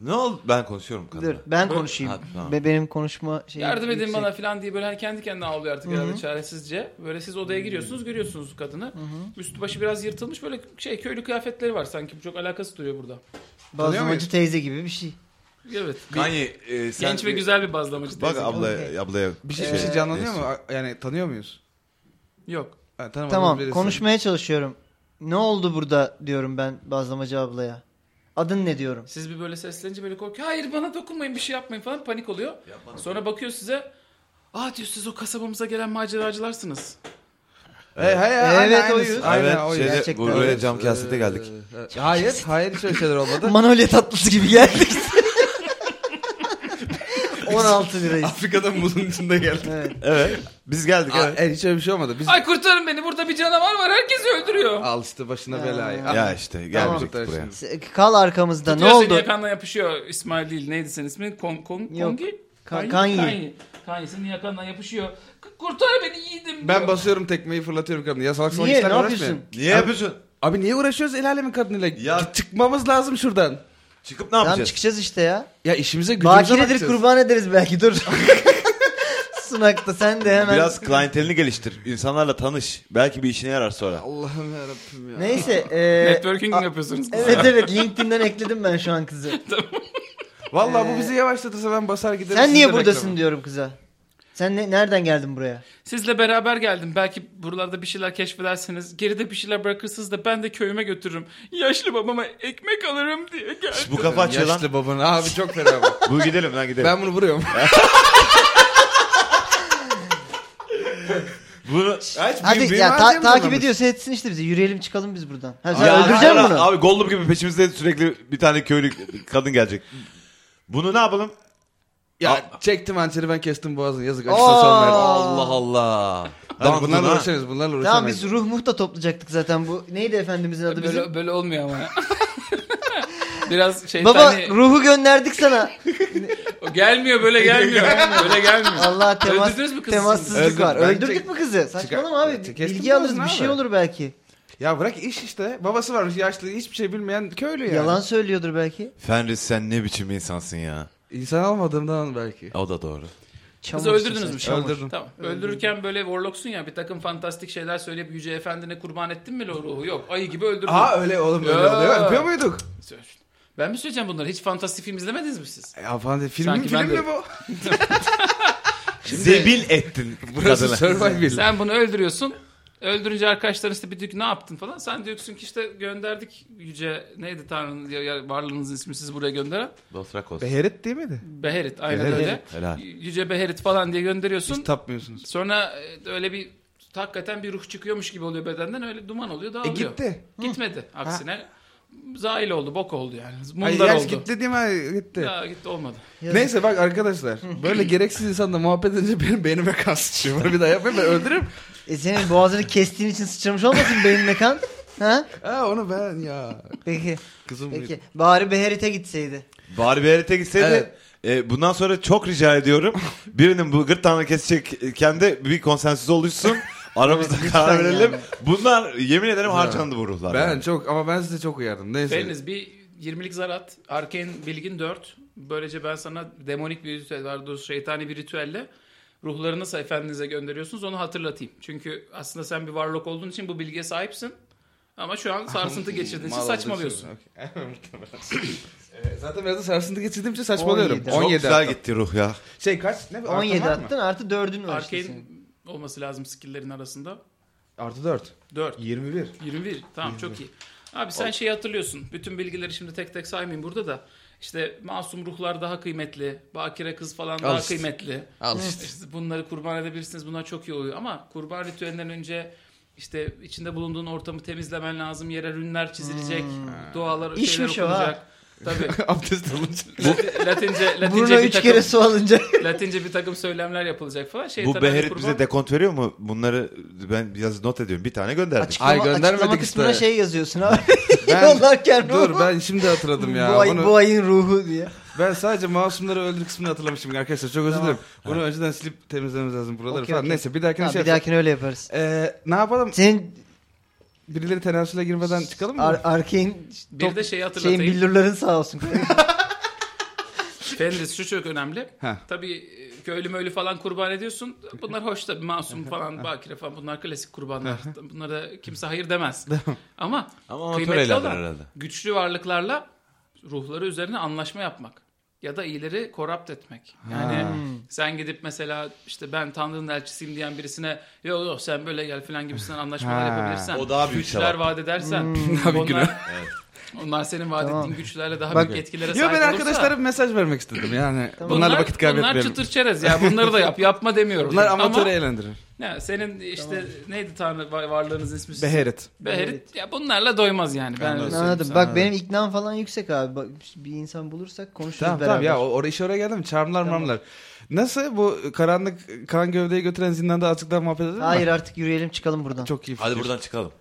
[SPEAKER 5] Ne oldu? Ben konuşuyorum kadına.
[SPEAKER 2] Dur ben konuşayım.
[SPEAKER 5] Ha, tamam.
[SPEAKER 2] Be- benim konuşma şeyim.
[SPEAKER 1] Yardım edin
[SPEAKER 2] yüksek.
[SPEAKER 1] bana falan diye böyle hani kendi kendine ağlıyor artık herhalde çaresizce. Böyle siz odaya giriyorsunuz görüyorsunuz kadını. Üstü başı biraz yırtılmış böyle şey köylü kıyafetleri var sanki çok alakası duruyor burada.
[SPEAKER 2] Bazlamacı
[SPEAKER 4] muyuz?
[SPEAKER 2] teyze gibi bir şey.
[SPEAKER 1] Evet.
[SPEAKER 5] Kanye e, sen
[SPEAKER 1] Genç ve
[SPEAKER 5] bir-
[SPEAKER 1] güzel bir bazlamacı
[SPEAKER 5] Bak
[SPEAKER 1] teyze.
[SPEAKER 5] ablaya, ablaya. e,
[SPEAKER 4] Bir şey, bir şey canlanıyor mu? A- Yani tanıyor muyuz?
[SPEAKER 1] Yok.
[SPEAKER 4] Ha, tanımadığımız
[SPEAKER 2] Tamam
[SPEAKER 4] birisi.
[SPEAKER 2] konuşmaya çalışıyorum. Ne oldu burada diyorum ben bazlamacı ablaya. Adın ne diyorum.
[SPEAKER 1] Siz bir böyle seslenince böyle korkuyor. Hayır bana dokunmayın bir şey yapmayın falan panik oluyor. Sonra bakıyor size. Aa diyor siz o kasabamıza gelen maceracılarsınız.
[SPEAKER 4] Ee, Hey, hey,
[SPEAKER 2] Evet,
[SPEAKER 4] aynen,
[SPEAKER 2] oyuz.
[SPEAKER 4] Aynen,
[SPEAKER 5] Evet,
[SPEAKER 4] oyuz.
[SPEAKER 5] şeyde,
[SPEAKER 2] gerçekten.
[SPEAKER 5] bu- buraya cam kasete geldik.
[SPEAKER 4] Evet. e, Hayır, hayır hiç öyle şeyler olmadı.
[SPEAKER 2] Manolya tatlısı gibi geldik. 16 lirayız.
[SPEAKER 4] Afrika'dan buzun içinde geldik.
[SPEAKER 2] Evet.
[SPEAKER 5] Evet. Biz geldik
[SPEAKER 4] Aa,
[SPEAKER 5] evet.
[SPEAKER 4] e, hiç öyle bir şey olmadı. Biz
[SPEAKER 1] Ay kurtarın beni burada bir canavar var herkesi öldürüyor.
[SPEAKER 4] al işte başına belayı. Ah,
[SPEAKER 2] Ya,
[SPEAKER 5] Ya işte gelmeyecektik
[SPEAKER 4] Tamam.
[SPEAKER 5] buraya.
[SPEAKER 2] Se- Kal arkamızda
[SPEAKER 1] Tutuyor
[SPEAKER 2] ne
[SPEAKER 1] Seni
[SPEAKER 2] oldu?
[SPEAKER 1] yakanla yapışıyor İsmail değil. Neydi senin ismin? Kon, kon,
[SPEAKER 2] Yok.
[SPEAKER 1] Kongi? Kanyi.
[SPEAKER 2] Ka- Kanyi.
[SPEAKER 1] Kanyi. Kanyi senin yakandan yapışıyor. K- Kurtar beni yiğidim.
[SPEAKER 4] Ben
[SPEAKER 1] diyor.
[SPEAKER 4] basıyorum tekmeyi fırlatıyorum kadını. Ya salak salak
[SPEAKER 2] Niye ne
[SPEAKER 4] işlerle
[SPEAKER 2] yapıyorsun?
[SPEAKER 4] uğraşmayın.
[SPEAKER 5] Niye yapıyorsun?
[SPEAKER 4] Abi niye uğraşıyoruz el alemin kadınıyla?
[SPEAKER 5] Ya-
[SPEAKER 4] Çıkmamız lazım şuradan.
[SPEAKER 5] Çıkıp ne
[SPEAKER 2] Tamam
[SPEAKER 5] yapacağız?
[SPEAKER 2] çıkacağız işte ya.
[SPEAKER 4] Ya işimize gücümüze
[SPEAKER 2] Bakiredir
[SPEAKER 4] bakacağız.
[SPEAKER 2] kurban ederiz belki dur. Sunak'ta sen de hemen.
[SPEAKER 5] Biraz klientelini geliştir. İnsanlarla tanış. Belki bir işine yarar sonra.
[SPEAKER 4] Allah'ım yarabbim ya.
[SPEAKER 2] Neyse. eee
[SPEAKER 1] E, Networking
[SPEAKER 2] E, a-
[SPEAKER 1] yapıyorsunuz. kız.
[SPEAKER 2] Evet evet LinkedIn'den ekledim ben şu an kızı.
[SPEAKER 4] Vallahi bu bizi yavaşlatırsa ben basar giderim.
[SPEAKER 2] Ee. Sen
[SPEAKER 4] sizi
[SPEAKER 2] niye
[SPEAKER 4] de
[SPEAKER 2] buradasın
[SPEAKER 4] beklemem.
[SPEAKER 2] diyorum kıza. Sen ne, nereden geldin buraya?
[SPEAKER 1] Sizle beraber geldim. Belki buralarda bir şeyler keşfedersiniz. Geride bir şeyler bırakırsınız da ben de köyüme götürürüm. Yaşlı babama ekmek alırım diye geldim.
[SPEAKER 5] Bu kafa açıyor lan.
[SPEAKER 4] Yaşlı babanı abi çok fena bu.
[SPEAKER 5] Bu gidelim lan gidelim.
[SPEAKER 4] ben bunu vuruyorum.
[SPEAKER 5] Bunu...
[SPEAKER 2] Hadi
[SPEAKER 4] büyü
[SPEAKER 2] ya
[SPEAKER 4] var
[SPEAKER 2] ta-
[SPEAKER 4] diye mi
[SPEAKER 2] takip
[SPEAKER 4] dememiş?
[SPEAKER 2] ediyorsa etsin işte bizi. Yürüyelim çıkalım biz buradan. Ha, sen
[SPEAKER 5] Ya
[SPEAKER 2] öldüreceksin
[SPEAKER 5] hayır,
[SPEAKER 2] bunu.
[SPEAKER 5] Abi Gollum gibi peşimizde sürekli bir tane köylü kadın gelecek. Bunu ne yapalım?
[SPEAKER 4] Ya çektim hançeri ben kestim boğazını yazık
[SPEAKER 2] Aa.
[SPEAKER 4] acısa son verdi.
[SPEAKER 5] Allah Allah.
[SPEAKER 4] Tamam
[SPEAKER 5] Dandun ha.
[SPEAKER 4] bunlarla uğraşamayız bunlarla uğraşamayız.
[SPEAKER 2] Tamam biz ruh muh da toplayacaktık zaten bu. Neydi efendimizin adı böyle?
[SPEAKER 1] Böyle, böyle olmuyor ama ya. Biraz şey
[SPEAKER 2] Baba
[SPEAKER 1] tane-
[SPEAKER 2] ruhu gönderdik sana.
[SPEAKER 1] o gelmiyor böyle gelmiyor. böyle gelmiyor.
[SPEAKER 2] Allah temas,
[SPEAKER 1] Öldürdünüz mü kızı
[SPEAKER 2] temassızlık
[SPEAKER 4] şimdi?
[SPEAKER 2] var.
[SPEAKER 4] Öldürdüm. Ben
[SPEAKER 2] Öldürdük
[SPEAKER 4] çek-
[SPEAKER 2] mü kızı? Saçmalama abi.
[SPEAKER 4] Çıkar- Kestim
[SPEAKER 2] Bilgi
[SPEAKER 4] biraz
[SPEAKER 2] alırız
[SPEAKER 4] ne
[SPEAKER 2] bir şey
[SPEAKER 4] abi?
[SPEAKER 2] olur belki.
[SPEAKER 4] Ya bırak iş işte. Babası varmış yaşlı hiçbir şey bilmeyen köylü yani.
[SPEAKER 2] Yalan söylüyordur belki.
[SPEAKER 5] Fenris sen ne biçim insansın ya.
[SPEAKER 4] İnsan almadığımdan belki.
[SPEAKER 5] O da doğru.
[SPEAKER 2] Çamur
[SPEAKER 1] Kızı öldürdünüz mü?
[SPEAKER 2] işte sen.
[SPEAKER 1] Çamur.
[SPEAKER 4] Öldürdüm.
[SPEAKER 1] Tamam. Öldürürken böyle warlocksun ya bir takım fantastik şeyler söyleyip Yüce Efendi'ne kurban ettin mi o ruhu? Yok. Ayı gibi öldürdün.
[SPEAKER 4] Aa öyle oğlum öyle
[SPEAKER 1] Ya.
[SPEAKER 4] oluyor. Öpüyor muyduk?
[SPEAKER 1] Ben mi söyleyeceğim bunları? Hiç fantastik film izlemediniz mi siz?
[SPEAKER 4] Ya falan diye. Film,
[SPEAKER 1] Sanki ben
[SPEAKER 4] film
[SPEAKER 1] de-
[SPEAKER 4] mi bu?
[SPEAKER 5] Zebil ettin
[SPEAKER 4] Burası
[SPEAKER 5] kadına.
[SPEAKER 4] Survival.
[SPEAKER 1] Sen bunu öldürüyorsun. Öldürünce arkadaşların işte bir diyor ki ne yaptın falan. Sen diyorsun ki işte gönderdik yüce neydi tanrının ya- ya varlığınızın ismi sizi buraya gönderen.
[SPEAKER 5] Dostrakos.
[SPEAKER 4] Beherit değil miydi?
[SPEAKER 1] Beherit aynen
[SPEAKER 4] Beherit.
[SPEAKER 1] öyle.
[SPEAKER 5] Helal.
[SPEAKER 1] Yüce Beherit falan diye gönderiyorsun.
[SPEAKER 4] Hiç tapmıyorsunuz.
[SPEAKER 1] Sonra e, öyle bir hakikaten bir ruh çıkıyormuş gibi oluyor bedenden öyle duman oluyor
[SPEAKER 4] E
[SPEAKER 1] dağılıyor.
[SPEAKER 4] gitti.
[SPEAKER 1] Gitmedi aksine. Zail oldu bok oldu yani.
[SPEAKER 4] Ay,
[SPEAKER 1] Mundar
[SPEAKER 4] yaş
[SPEAKER 1] oldu.
[SPEAKER 4] gitti değil mi? Ay, Gitti.
[SPEAKER 1] Ya gitti olmadı.
[SPEAKER 2] Yazık.
[SPEAKER 4] Neyse bak arkadaşlar. Böyle gereksiz insanla muhabbet edince benim beynime kan sıçıyor. Bunu bir daha yapmayın ben öldürürüm.
[SPEAKER 2] E senin boğazını kestiğin için sıçramış olmasın beynine kan? Ha?
[SPEAKER 4] Ha onu ben ya.
[SPEAKER 2] Peki.
[SPEAKER 4] Kızım
[SPEAKER 2] Peki. Bari Beherit'e gitseydi.
[SPEAKER 5] Bari bir harita gitseydi.
[SPEAKER 4] Evet.
[SPEAKER 5] e, bundan sonra çok rica ediyorum. Birinin bu gırtlağını kesecekken de bir konsensüs oluşsun. Aramızda
[SPEAKER 2] Evet, lütfen
[SPEAKER 5] karar verelim.
[SPEAKER 2] yani.
[SPEAKER 5] Bunlar yemin ederim harcandı bu ruhlar.
[SPEAKER 4] Ben
[SPEAKER 5] yani.
[SPEAKER 4] çok ama ben size çok uyardım. Neyse.
[SPEAKER 1] Veriniz bir 20'lik zar at. Arcane bilgin 4. Böylece ben sana demonik bir ritüel var. Doğrusu şeytani bir ritüelle ruhları nasıl efendinize gönderiyorsunuz onu hatırlatayım. Çünkü aslında sen bir varlık olduğun için bu bilgiye sahipsin. Ama şu an sarsıntı geçirdiğin için
[SPEAKER 4] Mal
[SPEAKER 1] saçmalıyorsun.
[SPEAKER 4] olduğu için. Okey. Muhtemelen. Evet, Zaten biraz da sarsıntı geçirdiğim için saçmalıyorum.
[SPEAKER 2] 17.
[SPEAKER 4] 17,
[SPEAKER 5] Çok güzel
[SPEAKER 4] attım.
[SPEAKER 5] gitti ruh ya.
[SPEAKER 4] Şey kaç? Ne? Artı
[SPEAKER 2] 17
[SPEAKER 4] var mı?
[SPEAKER 2] attın artı 4'ün var işte
[SPEAKER 1] Arcane
[SPEAKER 2] senin.
[SPEAKER 1] olması lazım skill'lerin arasında.
[SPEAKER 4] Artı 4.
[SPEAKER 1] 4.
[SPEAKER 4] 21.
[SPEAKER 1] 21. Tamam çok iyi. Abi sen şeyi hatırlıyorsun. Bütün bilgileri şimdi tek tek saymayayım burada da. İşte masum ruhlar daha kıymetli. Bakire kız falan daha
[SPEAKER 3] Al işte.
[SPEAKER 1] kıymetli.
[SPEAKER 3] Al işte.
[SPEAKER 1] İşte bunları kurban edebilirsiniz. Bunlar çok iyi oluyor. Ama kurban ritüelinden önce işte içinde bulunduğun ortamı temizlemen lazım. Yere rünler çizilecek. Dualar
[SPEAKER 2] İşmiş
[SPEAKER 1] şeyler
[SPEAKER 2] o ha.
[SPEAKER 1] okunacak. Tabii.
[SPEAKER 4] Abdest alınca.
[SPEAKER 1] Lati- Latince,
[SPEAKER 2] Burnuna
[SPEAKER 1] Latince, bir
[SPEAKER 2] 3 kere
[SPEAKER 1] takım,
[SPEAKER 2] su alınca.
[SPEAKER 1] Latince bir takım söylemler yapılacak falan. Şey,
[SPEAKER 5] Bu
[SPEAKER 1] tabii hani
[SPEAKER 5] Beherit
[SPEAKER 1] kurban-
[SPEAKER 5] bize dekont veriyor mu? Bunları ben biraz not ediyorum. Bir tane gönderdik.
[SPEAKER 2] Açıklama,
[SPEAKER 4] Ay, göndermedik
[SPEAKER 2] açıklama
[SPEAKER 4] işte.
[SPEAKER 2] kısmına şey yazıyorsun abi.
[SPEAKER 4] Ben-
[SPEAKER 2] Yollarken
[SPEAKER 4] Dur
[SPEAKER 2] ruhu.
[SPEAKER 4] ben şimdi hatırladım ya.
[SPEAKER 2] bu, ay,
[SPEAKER 4] Bunu-
[SPEAKER 2] bu ayın ruhu diye.
[SPEAKER 4] Ben sadece masumları öldür kısmını hatırlamışım arkadaşlar. Çok özür
[SPEAKER 2] Tamam.
[SPEAKER 4] dilerim. Bunu önceden silip temizlememiz lazım buraları
[SPEAKER 2] Okey,
[SPEAKER 4] falan.
[SPEAKER 2] okey.
[SPEAKER 4] Neyse bir dahakine
[SPEAKER 2] Tamam,
[SPEAKER 4] şey
[SPEAKER 2] bir dahakine öyle yaparız.
[SPEAKER 4] Ee, ne yapalım?
[SPEAKER 2] Senin
[SPEAKER 4] Birileri tenasüle girmeden çıkalım mı?
[SPEAKER 2] ar- arcane
[SPEAKER 1] Bir
[SPEAKER 2] top-
[SPEAKER 1] de şeyi hatırlatayım.
[SPEAKER 2] şeyin billurların sağ olsun.
[SPEAKER 1] Fenris şu çok önemli.
[SPEAKER 4] Heh.
[SPEAKER 1] Tabii e, köylü möylü falan kurban ediyorsun. Bunlar hoş tabii masum falan bakire falan bunlar klasik kurbanlar. Bunlara kimse hayır demez. Ama
[SPEAKER 3] Ama amatör
[SPEAKER 1] kıymetli
[SPEAKER 3] eylemler
[SPEAKER 1] olan
[SPEAKER 3] herhalde.
[SPEAKER 1] güçlü varlıklarla ruhları üzerine anlaşma yapmak. Ya da iyileri korapt etmek. Yani sen gidip mesela işte ben Tanrı'nın elçisiyim diyen birisine yok yok sen böyle gel falan gibisinden anlaşmalar
[SPEAKER 4] Ha. Hmm.
[SPEAKER 1] yapabilirsen.
[SPEAKER 5] O daha büyük
[SPEAKER 1] Güçler
[SPEAKER 5] sevap.
[SPEAKER 1] vaat edersen. onlar, onlar senin vaat ettiğin güçlerle daha büyük etkilere sahip
[SPEAKER 4] Yo ben
[SPEAKER 1] olursa-
[SPEAKER 4] arkadaşlara bir mesaj vermek istedim yani. Bunlarla
[SPEAKER 1] Bunlar
[SPEAKER 4] vakit kaybetmeyelim.
[SPEAKER 1] çıtır çerez ya. Bunları da yap. Yapma demiyorum.
[SPEAKER 4] Bunlar amatör
[SPEAKER 1] Ama
[SPEAKER 4] eğlendirir.
[SPEAKER 1] ne, senin işte neydi tanrı var- varlığınız ismi?
[SPEAKER 4] Beheret.
[SPEAKER 1] Beherit. Ya bunlarla doymaz yani. Ben öyle söyleyeyim
[SPEAKER 2] Anladım.
[SPEAKER 1] sana.
[SPEAKER 2] Bak benim iknam falan yüksek abi. Bak, bir insan bulursak konuşuruz
[SPEAKER 4] Tamam
[SPEAKER 2] beraber.
[SPEAKER 4] tamam ya o- oraya işe oraya geldim. Charmlar marmlar. Nasıl bu karanlık kan gövdeyi götüren zindanda açıktan muhabbet edelim mi?
[SPEAKER 2] Hayır artık yürüyelim çıkalım buradan.
[SPEAKER 4] Çok iyi fikir.
[SPEAKER 5] Hadi buradan çıkalım.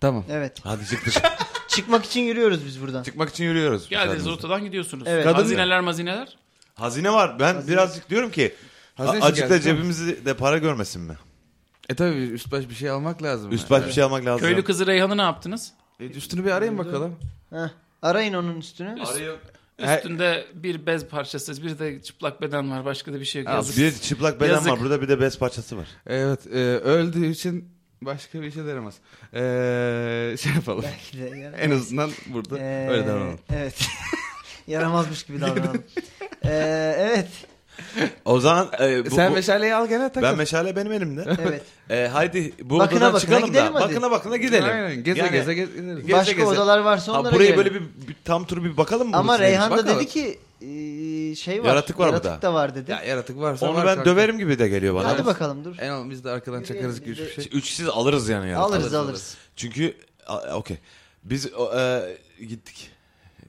[SPEAKER 4] Tamam.
[SPEAKER 2] Evet.
[SPEAKER 5] Hadi çık dışarı.
[SPEAKER 2] Çıkmak için yürüyoruz biz buradan.
[SPEAKER 5] Çıkmak için yürüyoruz.
[SPEAKER 1] Geldiniz
[SPEAKER 5] Kadın-
[SPEAKER 1] ortadan gidiyorsunuz.
[SPEAKER 2] Evet.
[SPEAKER 1] Kadın hazineler mazineler.
[SPEAKER 5] Hazine var. Ben birazcık diyorum ki
[SPEAKER 4] Hazine
[SPEAKER 5] a- azıcık da
[SPEAKER 4] geldi,
[SPEAKER 5] cebimizi de para görmesin mi?
[SPEAKER 4] E tabi üst baş bir şey almak lazım.
[SPEAKER 5] Üst
[SPEAKER 4] yani.
[SPEAKER 5] baş bir şey almak lazım.
[SPEAKER 1] Köylü kızı Reyhan'ı ne yaptınız?
[SPEAKER 4] E, Üstünü bir arayın bakalım.
[SPEAKER 2] Heh. Arayın onun üstünü.
[SPEAKER 4] Her-
[SPEAKER 1] Üstünde bir bez parçası, bir de çıplak beden var. Başka da bir şey yok. Yazık.
[SPEAKER 5] Bir çıplak beden
[SPEAKER 1] Yazık.
[SPEAKER 5] var. Burada bir de bez parçası var.
[SPEAKER 4] Evet e, öldüğü için başka bir şey de yaramaz. E, şey yapalım.
[SPEAKER 2] Belki de yaramaz.
[SPEAKER 4] en azından burada
[SPEAKER 2] Ee,
[SPEAKER 4] öyle davranalım.
[SPEAKER 2] Evet. Yaramazmış gibi davranalım. Ee, evet.
[SPEAKER 5] O zaman e, bu-
[SPEAKER 4] Sen
[SPEAKER 5] bu-
[SPEAKER 4] meşaleyi al gene takıl.
[SPEAKER 5] ben meşale benim elimde.
[SPEAKER 2] Evet.
[SPEAKER 5] E, haydi bu
[SPEAKER 2] Bakına
[SPEAKER 5] odadan
[SPEAKER 2] bakına
[SPEAKER 5] çıkalım da.
[SPEAKER 2] gidelim hadi.
[SPEAKER 5] Bakına bakına gidelim.
[SPEAKER 4] Aynen, geze
[SPEAKER 5] Yani-
[SPEAKER 4] geze gez- gideriz.
[SPEAKER 5] Geze
[SPEAKER 2] Başka
[SPEAKER 5] geze.
[SPEAKER 2] odalar varsa
[SPEAKER 5] Ha,
[SPEAKER 2] onlara
[SPEAKER 5] burayı
[SPEAKER 2] girelim.
[SPEAKER 5] böyle bir, bir tam tur bir bakalım mı?
[SPEAKER 2] Ama
[SPEAKER 5] burası neymiş?
[SPEAKER 2] Reyhan da
[SPEAKER 4] Bakalım.
[SPEAKER 2] dedi ki ee, şey var.
[SPEAKER 5] Yaratık var
[SPEAKER 2] yaratık
[SPEAKER 5] burada.
[SPEAKER 2] da var dedi.
[SPEAKER 4] Ya yaratık varsa
[SPEAKER 5] Onu
[SPEAKER 4] var
[SPEAKER 5] ben
[SPEAKER 4] kanka.
[SPEAKER 5] döverim gibi de geliyor bana.
[SPEAKER 2] Hadi bakalım dur.
[SPEAKER 4] En al biz de arkadan çakarız gibi bir şey.
[SPEAKER 5] Üçsiz alırız yani. yani.
[SPEAKER 2] alırız alırız.
[SPEAKER 5] Çünkü a- okey. Biz o, e, gittik.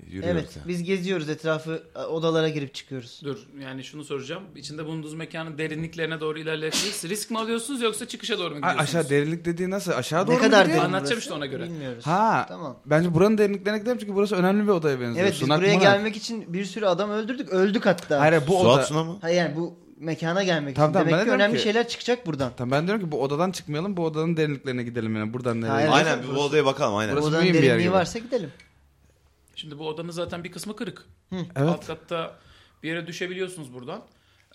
[SPEAKER 5] Yürüyoruz
[SPEAKER 2] Evet.
[SPEAKER 5] yani.
[SPEAKER 2] Biz geziyoruz etrafı a, odalara girip çıkıyoruz.
[SPEAKER 1] Dur yani şunu soracağım. İçinde bulunduğunuz mekanın derinliklerine doğru ilerleyebiliriz. Risk mi alıyorsunuz yoksa çıkışa doğru mu
[SPEAKER 4] A-
[SPEAKER 1] gidiyorsunuz?
[SPEAKER 4] aşağı derinlik dediği nasıl? Aşağı doğru
[SPEAKER 2] ne
[SPEAKER 4] mu
[SPEAKER 2] kadar
[SPEAKER 4] gidiyor?
[SPEAKER 2] derin
[SPEAKER 1] Anlatacağım
[SPEAKER 2] burası?
[SPEAKER 1] işte ona göre.
[SPEAKER 2] Bilmiyoruz.
[SPEAKER 4] Ha.
[SPEAKER 2] Tamam.
[SPEAKER 4] Bence buranın derinliklerine gidelim çünkü burası önemli bir odaya benziyor.
[SPEAKER 2] Evet biz
[SPEAKER 4] Sunak
[SPEAKER 2] buraya
[SPEAKER 4] munak.
[SPEAKER 2] gelmek için bir sürü adam öldürdük. Öldük hatta.
[SPEAKER 4] Hayır hayır, bu
[SPEAKER 5] Suat
[SPEAKER 4] oda...
[SPEAKER 5] Suna mı?
[SPEAKER 2] Hayır yani bu mekana gelmek
[SPEAKER 4] Tamam, tamam,
[SPEAKER 2] için.
[SPEAKER 4] ben de
[SPEAKER 2] Demek ki
[SPEAKER 4] diyorum
[SPEAKER 2] önemli
[SPEAKER 4] ki-
[SPEAKER 2] şeyler çıkacak buradan.
[SPEAKER 4] Tamam ben diyorum ki bu odadan çıkmayalım bu odanın derinliklerine gidelim yani buradan nereye?
[SPEAKER 2] Hayır.
[SPEAKER 5] Aynen bir bu odaya bakalım aynen.
[SPEAKER 4] Burası
[SPEAKER 2] Odanın
[SPEAKER 4] mühim bir yer
[SPEAKER 2] derinliği
[SPEAKER 4] gibi.
[SPEAKER 2] varsa gidelim.
[SPEAKER 1] Şimdi bu odanın zaten bir kısmı kırık.
[SPEAKER 4] Evet.
[SPEAKER 1] Alt katta bir yere düşebiliyorsunuz buradan.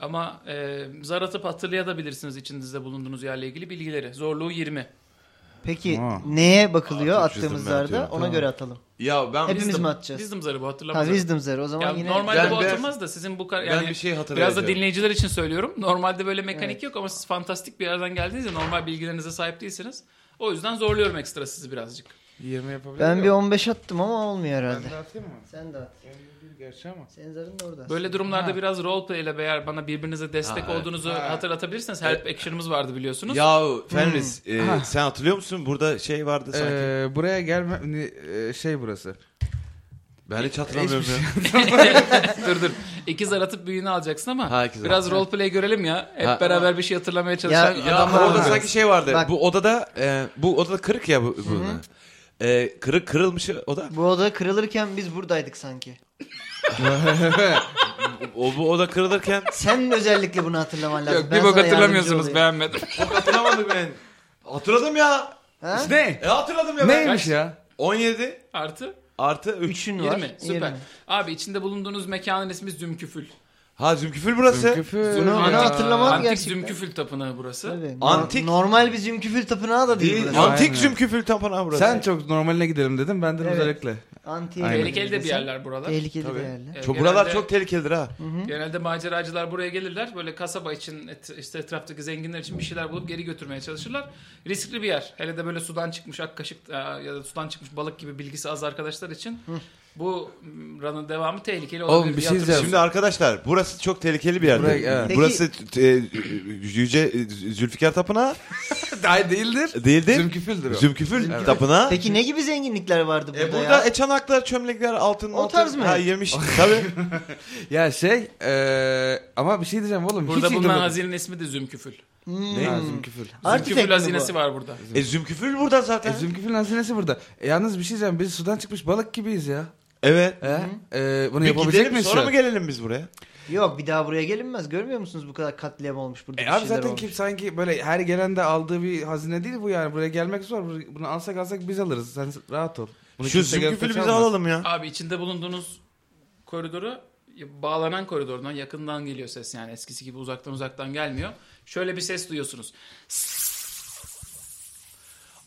[SPEAKER 1] Ama e, zar atıp hatırlayabilirsiniz içinizde bulunduğunuz yerle ilgili bilgileri. Zorluğu 20.
[SPEAKER 2] Peki
[SPEAKER 4] Tamam.
[SPEAKER 2] neye bakılıyor
[SPEAKER 5] Aa, Türk
[SPEAKER 2] attığımız
[SPEAKER 5] çizdim ben
[SPEAKER 2] zarda? Ona
[SPEAKER 5] atıyorum.
[SPEAKER 2] göre atalım.
[SPEAKER 5] Ya ben
[SPEAKER 2] Hepimiz
[SPEAKER 1] Wisdom-
[SPEAKER 2] mi atacağız?
[SPEAKER 1] Wisdom zarı bu
[SPEAKER 2] Ha
[SPEAKER 1] hatırlamaz. zarı.
[SPEAKER 2] wisdom zarı. O zaman
[SPEAKER 1] Ya
[SPEAKER 2] yine
[SPEAKER 1] normalde
[SPEAKER 5] Ben
[SPEAKER 1] bu
[SPEAKER 5] biraz-
[SPEAKER 1] atılmaz da sizin bu kar-
[SPEAKER 5] ben
[SPEAKER 1] yani
[SPEAKER 5] bir şey
[SPEAKER 1] biraz da
[SPEAKER 5] hatırlayacağım.
[SPEAKER 1] dinleyiciler için söylüyorum. Normalde böyle mekanik yok ama siz fantastik bir yerden geldiğiniz için normal bilgilerinize sahip değilsiniz. O yüzden zorluyorum ekstra sizi birazcık.
[SPEAKER 4] 20 yapabilir
[SPEAKER 2] ben bir
[SPEAKER 4] miyim?
[SPEAKER 2] 15 attım ama olmuyor herhalde.
[SPEAKER 4] Ben de atayım mı?
[SPEAKER 2] Sen de at.
[SPEAKER 4] Bir gerçi ama.
[SPEAKER 2] Senin zarın da orada.
[SPEAKER 1] Böyle durumlarda biraz roleplay ile eğer bana birbirinize destek
[SPEAKER 5] Ha, evet.
[SPEAKER 1] olduğunuzu hatırlatabilirsiniz. Help action'ımız vardı biliyorsunuz.
[SPEAKER 5] Ya Fenris e, sen hatırlıyor musun? Burada şey vardı sanki.
[SPEAKER 4] Ee, buraya gelme e, şey burası.
[SPEAKER 5] ben hiç hatırlamıyorum
[SPEAKER 4] hiçbir
[SPEAKER 5] ya.
[SPEAKER 1] dur dur. İki zar atıp büyüğünü alacaksın ama
[SPEAKER 5] Ha, iki zar.
[SPEAKER 1] biraz roleplay görelim ya. Hep
[SPEAKER 5] Ha.
[SPEAKER 1] beraber bir şey hatırlamaya çalışan
[SPEAKER 2] Ya-
[SPEAKER 5] Ya
[SPEAKER 1] adamlar
[SPEAKER 5] orada
[SPEAKER 1] var.
[SPEAKER 5] sanki şey vardı.
[SPEAKER 2] Bak.
[SPEAKER 5] Bu odada e, bu odada kırık ya bu, bu oda. E, kırık kırılmış oda.
[SPEAKER 2] Bu oda kırılırken biz buradaydık sanki.
[SPEAKER 5] O bu oda kırılırken
[SPEAKER 2] Sen özellikle bunu hatırlaman lazım.
[SPEAKER 1] Yok
[SPEAKER 2] Ben
[SPEAKER 1] bir bok
[SPEAKER 2] sana yardımcı
[SPEAKER 1] hatırlamıyorsunuz
[SPEAKER 2] olayım.
[SPEAKER 1] beğenmedim.
[SPEAKER 5] çok hatırlamadım ben. Hatırladım ya.
[SPEAKER 2] Ha?
[SPEAKER 4] Ne?
[SPEAKER 5] E hatırladım ya ben.
[SPEAKER 4] Neymiş ya?
[SPEAKER 5] 17
[SPEAKER 1] Artı
[SPEAKER 5] artı 3.
[SPEAKER 2] Üçün var.
[SPEAKER 1] 20. Süper.
[SPEAKER 2] 20.
[SPEAKER 1] Abi içinde bulunduğunuz mekanın ismi Zümküfül.
[SPEAKER 5] Ha zümküfül burası.
[SPEAKER 4] Zümküfü.
[SPEAKER 2] Bunu- bunu hatırlamam
[SPEAKER 1] Antik
[SPEAKER 2] gerçekten.
[SPEAKER 1] Zümküfül Tapınağı burası.
[SPEAKER 2] Tabii. No-
[SPEAKER 5] Antik-
[SPEAKER 2] normal bir zümküfül tapınağı da değil.
[SPEAKER 5] Değil,
[SPEAKER 2] burası.
[SPEAKER 4] Aynen.
[SPEAKER 5] antik zümküfül tapınağı burası.
[SPEAKER 4] Sen çok normaline gidelim dedim. Ben de
[SPEAKER 2] Evet.
[SPEAKER 4] özellikle.
[SPEAKER 2] Anti
[SPEAKER 4] Aynen.
[SPEAKER 1] Tehlikeli de bir yerler buralar.
[SPEAKER 2] Tehlikeli
[SPEAKER 5] Tabii.
[SPEAKER 2] bir yerler.
[SPEAKER 1] Ee,
[SPEAKER 5] Çok, buralar
[SPEAKER 1] genelde-
[SPEAKER 5] çok tehlikelidir ha.
[SPEAKER 1] Genelde maceracılar buraya gelirler. Böyle kasaba için, et- işte etraftaki zenginler için bir şeyler bulup geri götürmeye çalışırlar. Riskli bir yer. Hele de böyle sudan çıkmış ak kaşık e, ya da sudan çıkmış balık gibi bilgisi az arkadaşlar için bu m, ranın devamı tehlikeli
[SPEAKER 3] Oğlum,
[SPEAKER 1] olabilir.
[SPEAKER 3] bir
[SPEAKER 1] diye
[SPEAKER 3] şey
[SPEAKER 1] hatırlıyorum.
[SPEAKER 5] Şimdi arkadaşlar burası çok tehlikeli bir yer.
[SPEAKER 4] Burayı- evet.
[SPEAKER 5] Burası t- e, Yüce Zülfikar Tapınağı
[SPEAKER 4] Hayır değildir.
[SPEAKER 5] değildi.
[SPEAKER 4] Zümküfüldür o.
[SPEAKER 5] Zümküfül Tapınağı.
[SPEAKER 2] Peki ne gibi zenginlikler vardı burada,
[SPEAKER 5] E burada
[SPEAKER 2] ya?
[SPEAKER 5] e, çanaklar, çömlekler, altın,
[SPEAKER 2] O tarz
[SPEAKER 5] altın-
[SPEAKER 2] mı?
[SPEAKER 5] Ha yemiş. Tabii.
[SPEAKER 4] Ya şey eee ama bir şey diyeceğim oğlum.
[SPEAKER 1] Burada
[SPEAKER 4] hiç
[SPEAKER 1] bulunan
[SPEAKER 4] ilgilenmedim.
[SPEAKER 1] hazinenin ismi de Zümküfül.
[SPEAKER 2] Hmm.
[SPEAKER 4] Ha, Zümküfül.
[SPEAKER 2] Artifact mi
[SPEAKER 1] Zümküfül
[SPEAKER 2] bu?
[SPEAKER 1] hazinesi var burada.
[SPEAKER 5] E zümküfül burada zaten.
[SPEAKER 4] E, Zümküfül'ün hazinesi burada. E, yalnız bir şey diyeceğim. Biz sudan çıkmış balık gibiyiz ya.
[SPEAKER 5] evet.
[SPEAKER 4] E, e, bunu
[SPEAKER 5] Bir
[SPEAKER 4] yapabilecek
[SPEAKER 5] gidelim
[SPEAKER 4] miyiz?
[SPEAKER 5] sonra
[SPEAKER 4] şu
[SPEAKER 5] mı
[SPEAKER 4] an?
[SPEAKER 5] gelelim biz buraya?
[SPEAKER 2] Yok bir daha buraya gelinmez. Görmüyor musunuz bu kadar katliam olmuş burada?
[SPEAKER 4] E
[SPEAKER 2] bir
[SPEAKER 4] abi
[SPEAKER 2] şeyler
[SPEAKER 4] zaten
[SPEAKER 2] olmuş.
[SPEAKER 4] kim sanki böyle her gelen de aldığı bir hazine değil bu yani. Buraya gelmek zor. Bur- Bunu alsak alsak biz alırız. Sen rahat ol. Bunu
[SPEAKER 5] Şu
[SPEAKER 4] kimse şey gelip
[SPEAKER 5] zümküfülü bize
[SPEAKER 4] kaçamaz.
[SPEAKER 5] alalım ya.
[SPEAKER 1] Abi içinde bulunduğunuz koridoru bağlanan koridordan yakından geliyor ses yani eskisi gibi uzaktan uzaktan gelmiyor. Şöyle bir ses duyuyorsunuz.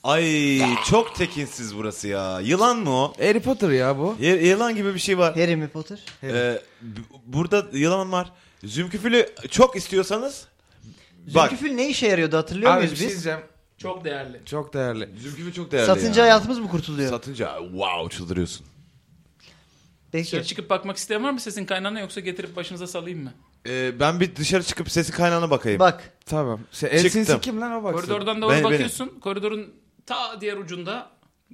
[SPEAKER 5] Ay çok tekinsiz burası ya. Yılan mı o?
[SPEAKER 4] Harry Potter ya bu.
[SPEAKER 5] Y- yılan gibi bir şey var.
[SPEAKER 2] Harry mi Potter?
[SPEAKER 5] Ee, b- burada yılan var. Zümküfülü çok istiyorsanız bak.
[SPEAKER 2] Zümküfül ne işe yarıyordu hatırlıyor
[SPEAKER 4] Abi bir
[SPEAKER 2] muyuz
[SPEAKER 4] şey
[SPEAKER 2] biz?
[SPEAKER 4] diyeceğim.
[SPEAKER 1] Çok değerli.
[SPEAKER 4] Çok değerli.
[SPEAKER 5] Zümküfül çok değerli.
[SPEAKER 2] Satınca
[SPEAKER 5] ya.
[SPEAKER 2] hayatımız mı kurtuluyor?
[SPEAKER 5] Satınca wow çıldırıyorsun.
[SPEAKER 1] Dışarı
[SPEAKER 5] Şey,
[SPEAKER 2] Peki.
[SPEAKER 1] çıkıp bakmak isteyen var mı sesin kaynağına yoksa getirip başınıza salayım mı?
[SPEAKER 5] Ee, ben bir dışarı çıkıp sesi kaynağına bakayım.
[SPEAKER 2] Bak.
[SPEAKER 4] Tamam. Şey, el
[SPEAKER 5] Çıktım.
[SPEAKER 4] sinsi kim lan o baksın.
[SPEAKER 1] Koridordan doğru
[SPEAKER 5] Beni- beni.
[SPEAKER 1] bakıyorsun. Koridorun ta diğer ucunda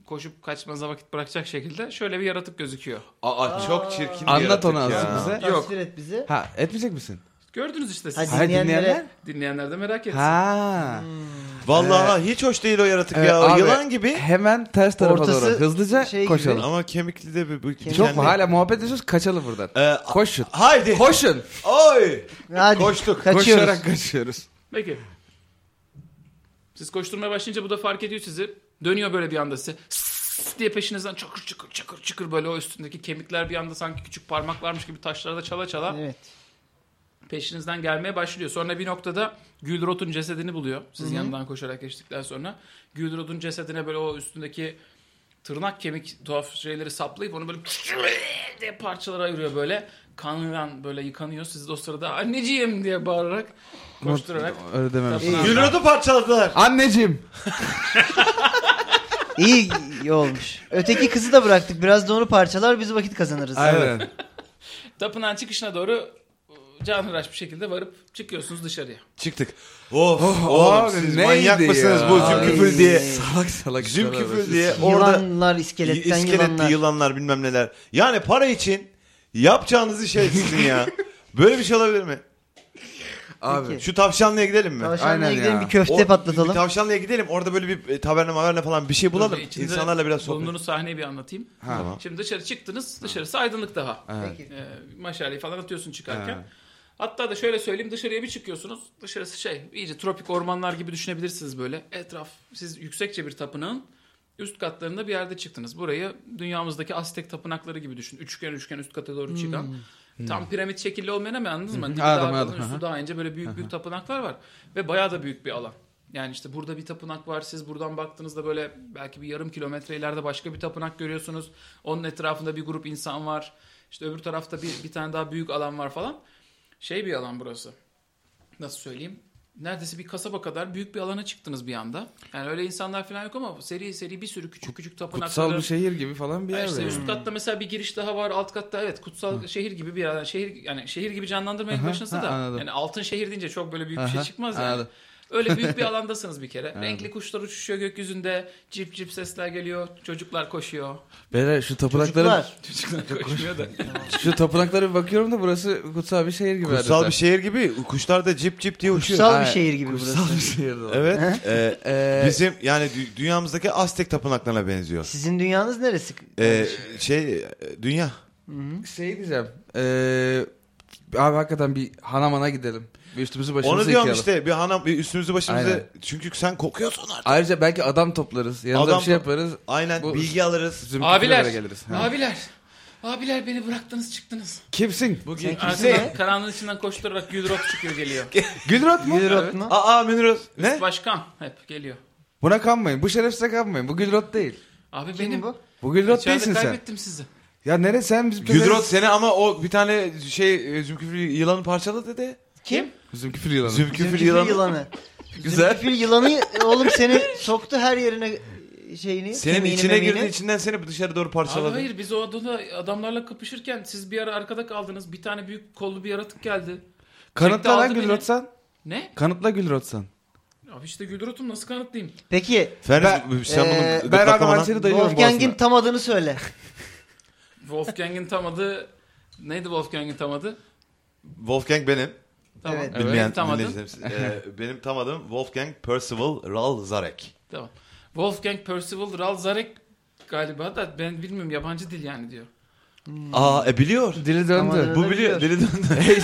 [SPEAKER 1] koşup kaçmanıza vakit bırakacak şekilde şöyle bir yaratık gözüküyor.
[SPEAKER 5] Aa, çok çirkin bir
[SPEAKER 4] Anlat
[SPEAKER 5] yaratık
[SPEAKER 4] onu
[SPEAKER 5] ya.
[SPEAKER 4] azıcık bize.
[SPEAKER 1] Yok.
[SPEAKER 2] Tasvir et bizi.
[SPEAKER 4] Ha etmeyecek misin?
[SPEAKER 1] Gördünüz işte siz.
[SPEAKER 2] Hadi
[SPEAKER 4] Hayır,
[SPEAKER 2] dinleyenlere.
[SPEAKER 4] dinleyenler.
[SPEAKER 1] Dinleyenler de merak etsin.
[SPEAKER 4] Ha.
[SPEAKER 5] Vallahi hiç hoş değil o yaratık
[SPEAKER 4] Evet,
[SPEAKER 5] ya.
[SPEAKER 4] Ee, e, abi,
[SPEAKER 5] Yılan gibi.
[SPEAKER 4] Hemen ters tarafa
[SPEAKER 2] Ortası
[SPEAKER 4] doğru hızlıca
[SPEAKER 2] şey gibi.
[SPEAKER 4] koşalım.
[SPEAKER 5] Ama kemikli de bir... bir-
[SPEAKER 4] Çok
[SPEAKER 5] kendi-
[SPEAKER 4] mu? Hala muhabbet ediyoruz. Kaçalım buradan.
[SPEAKER 5] Ee,
[SPEAKER 4] Koşun.
[SPEAKER 5] haydi.
[SPEAKER 4] Koşun.
[SPEAKER 5] Oy.
[SPEAKER 2] Hadi.
[SPEAKER 5] Koştuk.
[SPEAKER 2] Kaçıyoruz.
[SPEAKER 4] Koşarak kaçıyoruz.
[SPEAKER 1] Peki. Siz koşturmaya başlayınca bu da fark ediyor sizi. Dönüyor böyle bir anda size. Sss diye peşinizden çakır çakır çakır çakır böyle o üstündeki kemikler bir anda sanki küçük parmaklarmış gibi taşlarda çala çala
[SPEAKER 2] Evet.
[SPEAKER 1] peşinizden gelmeye başlıyor. Sonra bir noktada Gülrot'un cesedini buluyor. Siz yanından koşarak geçtikten sonra. Gülrot'un cesedine böyle o üstündeki tırnak kemik tuhaf şeyleri saplayıp onu böyle diye parçalara ayırıyor böyle. Kanından böyle yıkanıyor. Siz de o sırada anneciğim diye bağırarak koşturarak.
[SPEAKER 4] Öyle dememiştim.
[SPEAKER 1] Tapınağa-
[SPEAKER 5] Gülrot'u parçaladılar.
[SPEAKER 4] Anneciğim.
[SPEAKER 2] İyi, iyi olmuş. Öteki kızı da bıraktık. Biraz da onu parçalar biz vakit kazanırız.
[SPEAKER 4] Aynen.
[SPEAKER 1] Tapınağın çıkışına doğru e, canhıraş bir şekilde varıp çıkıyorsunuz dışarıya.
[SPEAKER 5] Çıktık. Of,
[SPEAKER 4] Oh,
[SPEAKER 5] oğlum
[SPEAKER 4] abi,
[SPEAKER 5] siz
[SPEAKER 4] neydi
[SPEAKER 5] manyak
[SPEAKER 4] ya?
[SPEAKER 5] mısınız bu zümküfül
[SPEAKER 2] Ay.
[SPEAKER 5] diye.
[SPEAKER 4] salak salak.
[SPEAKER 5] Zümküfül diye orada
[SPEAKER 2] Yılanlar, iskeletten
[SPEAKER 5] iskeletli
[SPEAKER 2] yılanlar.
[SPEAKER 5] yılanlar. bilmem neler. Yani para için yapacağınız iş şey sizin ya. Böyle bir şey olabilir mi?
[SPEAKER 4] Abi.
[SPEAKER 2] Peki.
[SPEAKER 5] Şu tavşanlığa gidelim mi?
[SPEAKER 2] Tavşanlığa
[SPEAKER 4] Aynen
[SPEAKER 2] gidelim
[SPEAKER 4] ya.
[SPEAKER 2] bir köfte
[SPEAKER 5] O- bir
[SPEAKER 2] patlatalım.
[SPEAKER 5] Tavşanlığa gidelim. Orada böyle bir e, taverna maverna falan bir şey bulalım.
[SPEAKER 1] Tabii içinde
[SPEAKER 5] İnsanlarla biraz sohbet.
[SPEAKER 1] Bulunduğunuz sahneyi bir anlatayım.
[SPEAKER 5] Tamam.
[SPEAKER 1] Şimdi dışarı çıktınız. Dışarısı aydınlık daha.
[SPEAKER 2] Peki.
[SPEAKER 1] E, maşaleyi falan atıyorsun çıkarken.
[SPEAKER 4] Ha.
[SPEAKER 1] Hatta da şöyle söyleyeyim dışarıya bir çıkıyorsunuz. Dışarısı şey iyice tropik ormanlar gibi düşünebilirsiniz böyle. Etraf siz yüksekçe bir tapınağın üst katlarında bir yerde çıktınız. Burayı dünyamızdaki Aztek tapınakları gibi düşün. Üçgen üçgen üst kata doğru çıkan. Tam piramit şekilli olmayan ama anladınız mı? Dibi daha
[SPEAKER 4] Anladım,
[SPEAKER 1] kalın,
[SPEAKER 4] anladım.
[SPEAKER 1] üstü daha ince böyle büyük büyük tapınaklar var. Ve bayağı da büyük bir alan. Yani işte burada bir tapınak var. Siz buradan baktığınızda böyle belki bir yarım kilometre ileride başka bir tapınak görüyorsunuz. Onun etrafında bir grup insan var. İşte öbür tarafta bir, bir tane daha büyük alan var falan. Şey bir alan burası. Nasıl söyleyeyim? Neredeyse bir kasaba kadar büyük bir alana çıktınız bir anda. Yani öyle insanlar falan yok ama seri seri bir sürü küçük küçük tapınakları.
[SPEAKER 4] Kutsal bir şehir gibi falan bir
[SPEAKER 1] Ha
[SPEAKER 4] yer. Hmm.
[SPEAKER 1] işte
[SPEAKER 4] yani.
[SPEAKER 1] üst katta mesela bir giriş daha var. Alt katta evet kutsal şehir gibi bir yer. Şehir yani şehir gibi canlandırmaya
[SPEAKER 4] Aha,
[SPEAKER 1] başlasın
[SPEAKER 4] ha,
[SPEAKER 1] da.
[SPEAKER 4] anladım.
[SPEAKER 1] Yani altın şehir deyince çok böyle büyük bir şey
[SPEAKER 4] Aha,
[SPEAKER 1] çıkmaz yani.
[SPEAKER 4] anladım.
[SPEAKER 1] Öyle büyük bir alandasınız bir kere. Renkli kuşlar uçuşuyor gökyüzünde. Cip cip sesler geliyor. Çocuklar koşuyor.
[SPEAKER 4] Beyler şu tapınakları
[SPEAKER 2] Çocuklar.
[SPEAKER 1] Çocuklar koşmuyor da.
[SPEAKER 4] şu tapınaklara bir bakıyorum da burası kutsal bir şehir gibi.
[SPEAKER 5] Kutsal bir şehir gibi. Kuşlar da cip cip diye uçuyor.
[SPEAKER 2] Kutsal bir
[SPEAKER 4] Aynen.
[SPEAKER 2] şehir gibi burası.
[SPEAKER 4] Kutsal bir şehir. de var.
[SPEAKER 5] Evet. e,
[SPEAKER 4] Ee,
[SPEAKER 5] bizim yani dü- dünyamızdaki Aztek tapınaklarına benziyor.
[SPEAKER 2] Sizin dünyanız neresi?
[SPEAKER 5] E, şey e, dünya.
[SPEAKER 4] şey diyeceğim. Ee, abi hakikaten bir hanamana gidelim. Bir üstümüzü başımızı
[SPEAKER 5] Onu diyorum
[SPEAKER 4] yıkayalım.
[SPEAKER 5] işte bir hanım bir üstümüzü başımızı
[SPEAKER 4] Aynen.
[SPEAKER 5] çünkü sen kokuyorsun artık.
[SPEAKER 4] Ayrıca belki adam toplarız. Yanımıza
[SPEAKER 5] Adam
[SPEAKER 4] bir şey
[SPEAKER 5] to-
[SPEAKER 4] yaparız.
[SPEAKER 5] Aynen
[SPEAKER 4] Bu-
[SPEAKER 5] bilgi alırız.
[SPEAKER 4] Zümküfül'e
[SPEAKER 1] abiler.
[SPEAKER 4] de geliriz. Ha.
[SPEAKER 1] Abiler. Abiler beni bıraktınız çıktınız.
[SPEAKER 4] Kimsin?
[SPEAKER 3] Bugün
[SPEAKER 1] Arkadan karanlığın içinden koşturarak Gülrop çıkıyor geliyor.
[SPEAKER 4] Gülrot mu?
[SPEAKER 2] Yürüt mu?
[SPEAKER 5] Aa Müniröz. Ne?
[SPEAKER 1] Başkan hep geliyor.
[SPEAKER 4] Buna kanmayın. Bu şerefsize kanmayın. Bu Gülrot değil.
[SPEAKER 1] Abi
[SPEAKER 2] Kim
[SPEAKER 1] benim.
[SPEAKER 2] bu?
[SPEAKER 4] Bu Gülrot
[SPEAKER 1] İçeride
[SPEAKER 4] değilsin sen.
[SPEAKER 1] kaybettim sizi.
[SPEAKER 4] Ya nere sen bizim
[SPEAKER 5] Güdrot seni ama o bir tane şey e, zümküfür yılanı parçaladı dedi.
[SPEAKER 2] Kim?
[SPEAKER 4] Bizim küfür yılanı.
[SPEAKER 5] Zümküfür
[SPEAKER 2] Zülküfil
[SPEAKER 5] yılanı.
[SPEAKER 2] yılanı.
[SPEAKER 5] Güzel.
[SPEAKER 2] Zülküfil yılanı oğlum seni soktu her yerine şeyini.
[SPEAKER 5] Senin
[SPEAKER 2] kemiğini,
[SPEAKER 5] içine girdi
[SPEAKER 2] memiğini.
[SPEAKER 5] içinden seni dışarı doğru
[SPEAKER 1] Abi
[SPEAKER 5] parçaladı.
[SPEAKER 1] hayır biz o adada adamlarla kapışırken siz bir ara arkada kaldınız. Bir tane büyük kollu bir yaratık geldi. Çekti,
[SPEAKER 4] Kanıtla
[SPEAKER 1] aldı
[SPEAKER 4] lan
[SPEAKER 1] beni.
[SPEAKER 4] Gülrot sen.
[SPEAKER 1] Ne?
[SPEAKER 4] Kanıtla Gülrot sen.
[SPEAKER 1] Abi işte Gülrot'um nasıl kanıtlayayım?
[SPEAKER 2] Peki
[SPEAKER 5] Ferhat sen
[SPEAKER 2] Ee, ben
[SPEAKER 5] bunu
[SPEAKER 4] Ben Adam
[SPEAKER 5] gırtlaklamana-
[SPEAKER 4] Hanser'i dayıyorum
[SPEAKER 2] Wolfgang'in
[SPEAKER 4] boğazına.
[SPEAKER 2] tam adını söyle.
[SPEAKER 1] Wolfgang'in tam adı neydi Wolfgang'in tam adı?
[SPEAKER 5] Wolfgang benim.
[SPEAKER 1] Tamam.
[SPEAKER 2] Evet.
[SPEAKER 5] Bilmeyen
[SPEAKER 1] tam adı.
[SPEAKER 5] dinleyicilerimiz. Ee, benim tam adım Wolfgang Percival Ral Zarek.
[SPEAKER 1] Tamam. Wolfgang Percival Ral Zarek galiba da ben bilmiyorum yabancı dil yani diyor.
[SPEAKER 5] Aa e, biliyor.
[SPEAKER 4] Dili
[SPEAKER 2] Tam
[SPEAKER 4] döndü.
[SPEAKER 2] adını
[SPEAKER 5] Bu biliyor. Deli döndü.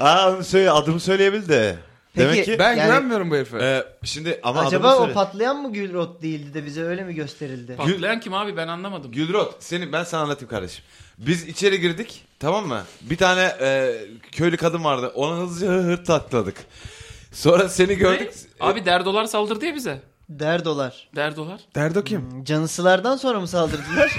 [SPEAKER 5] Aa onu söyle adımı söyleyebil de.
[SPEAKER 2] Peki,
[SPEAKER 5] Demek ki
[SPEAKER 4] Ben
[SPEAKER 2] Yani-
[SPEAKER 4] güvenmiyorum bu herife.
[SPEAKER 5] e, şimdi ama
[SPEAKER 2] Acaba
[SPEAKER 5] adımı
[SPEAKER 2] o
[SPEAKER 5] söyle.
[SPEAKER 2] patlayan mı Gülrot değildi de bize öyle mi gösterildi?
[SPEAKER 1] Patlayan kim abi ben anlamadım.
[SPEAKER 5] Gülrot seni ben sana anlatayım kardeşim. Biz içeri girdik tamam mı? Bir tane e, köylü kadın vardı. Ona hızlıca hırt takladık. Sonra seni gördük.
[SPEAKER 1] Ne? Abi derdolar saldırdı ya bize.
[SPEAKER 2] Derdolar.
[SPEAKER 1] Derdolar.
[SPEAKER 4] Derdo kim?
[SPEAKER 2] Canısılardan sonra mı saldırdılar?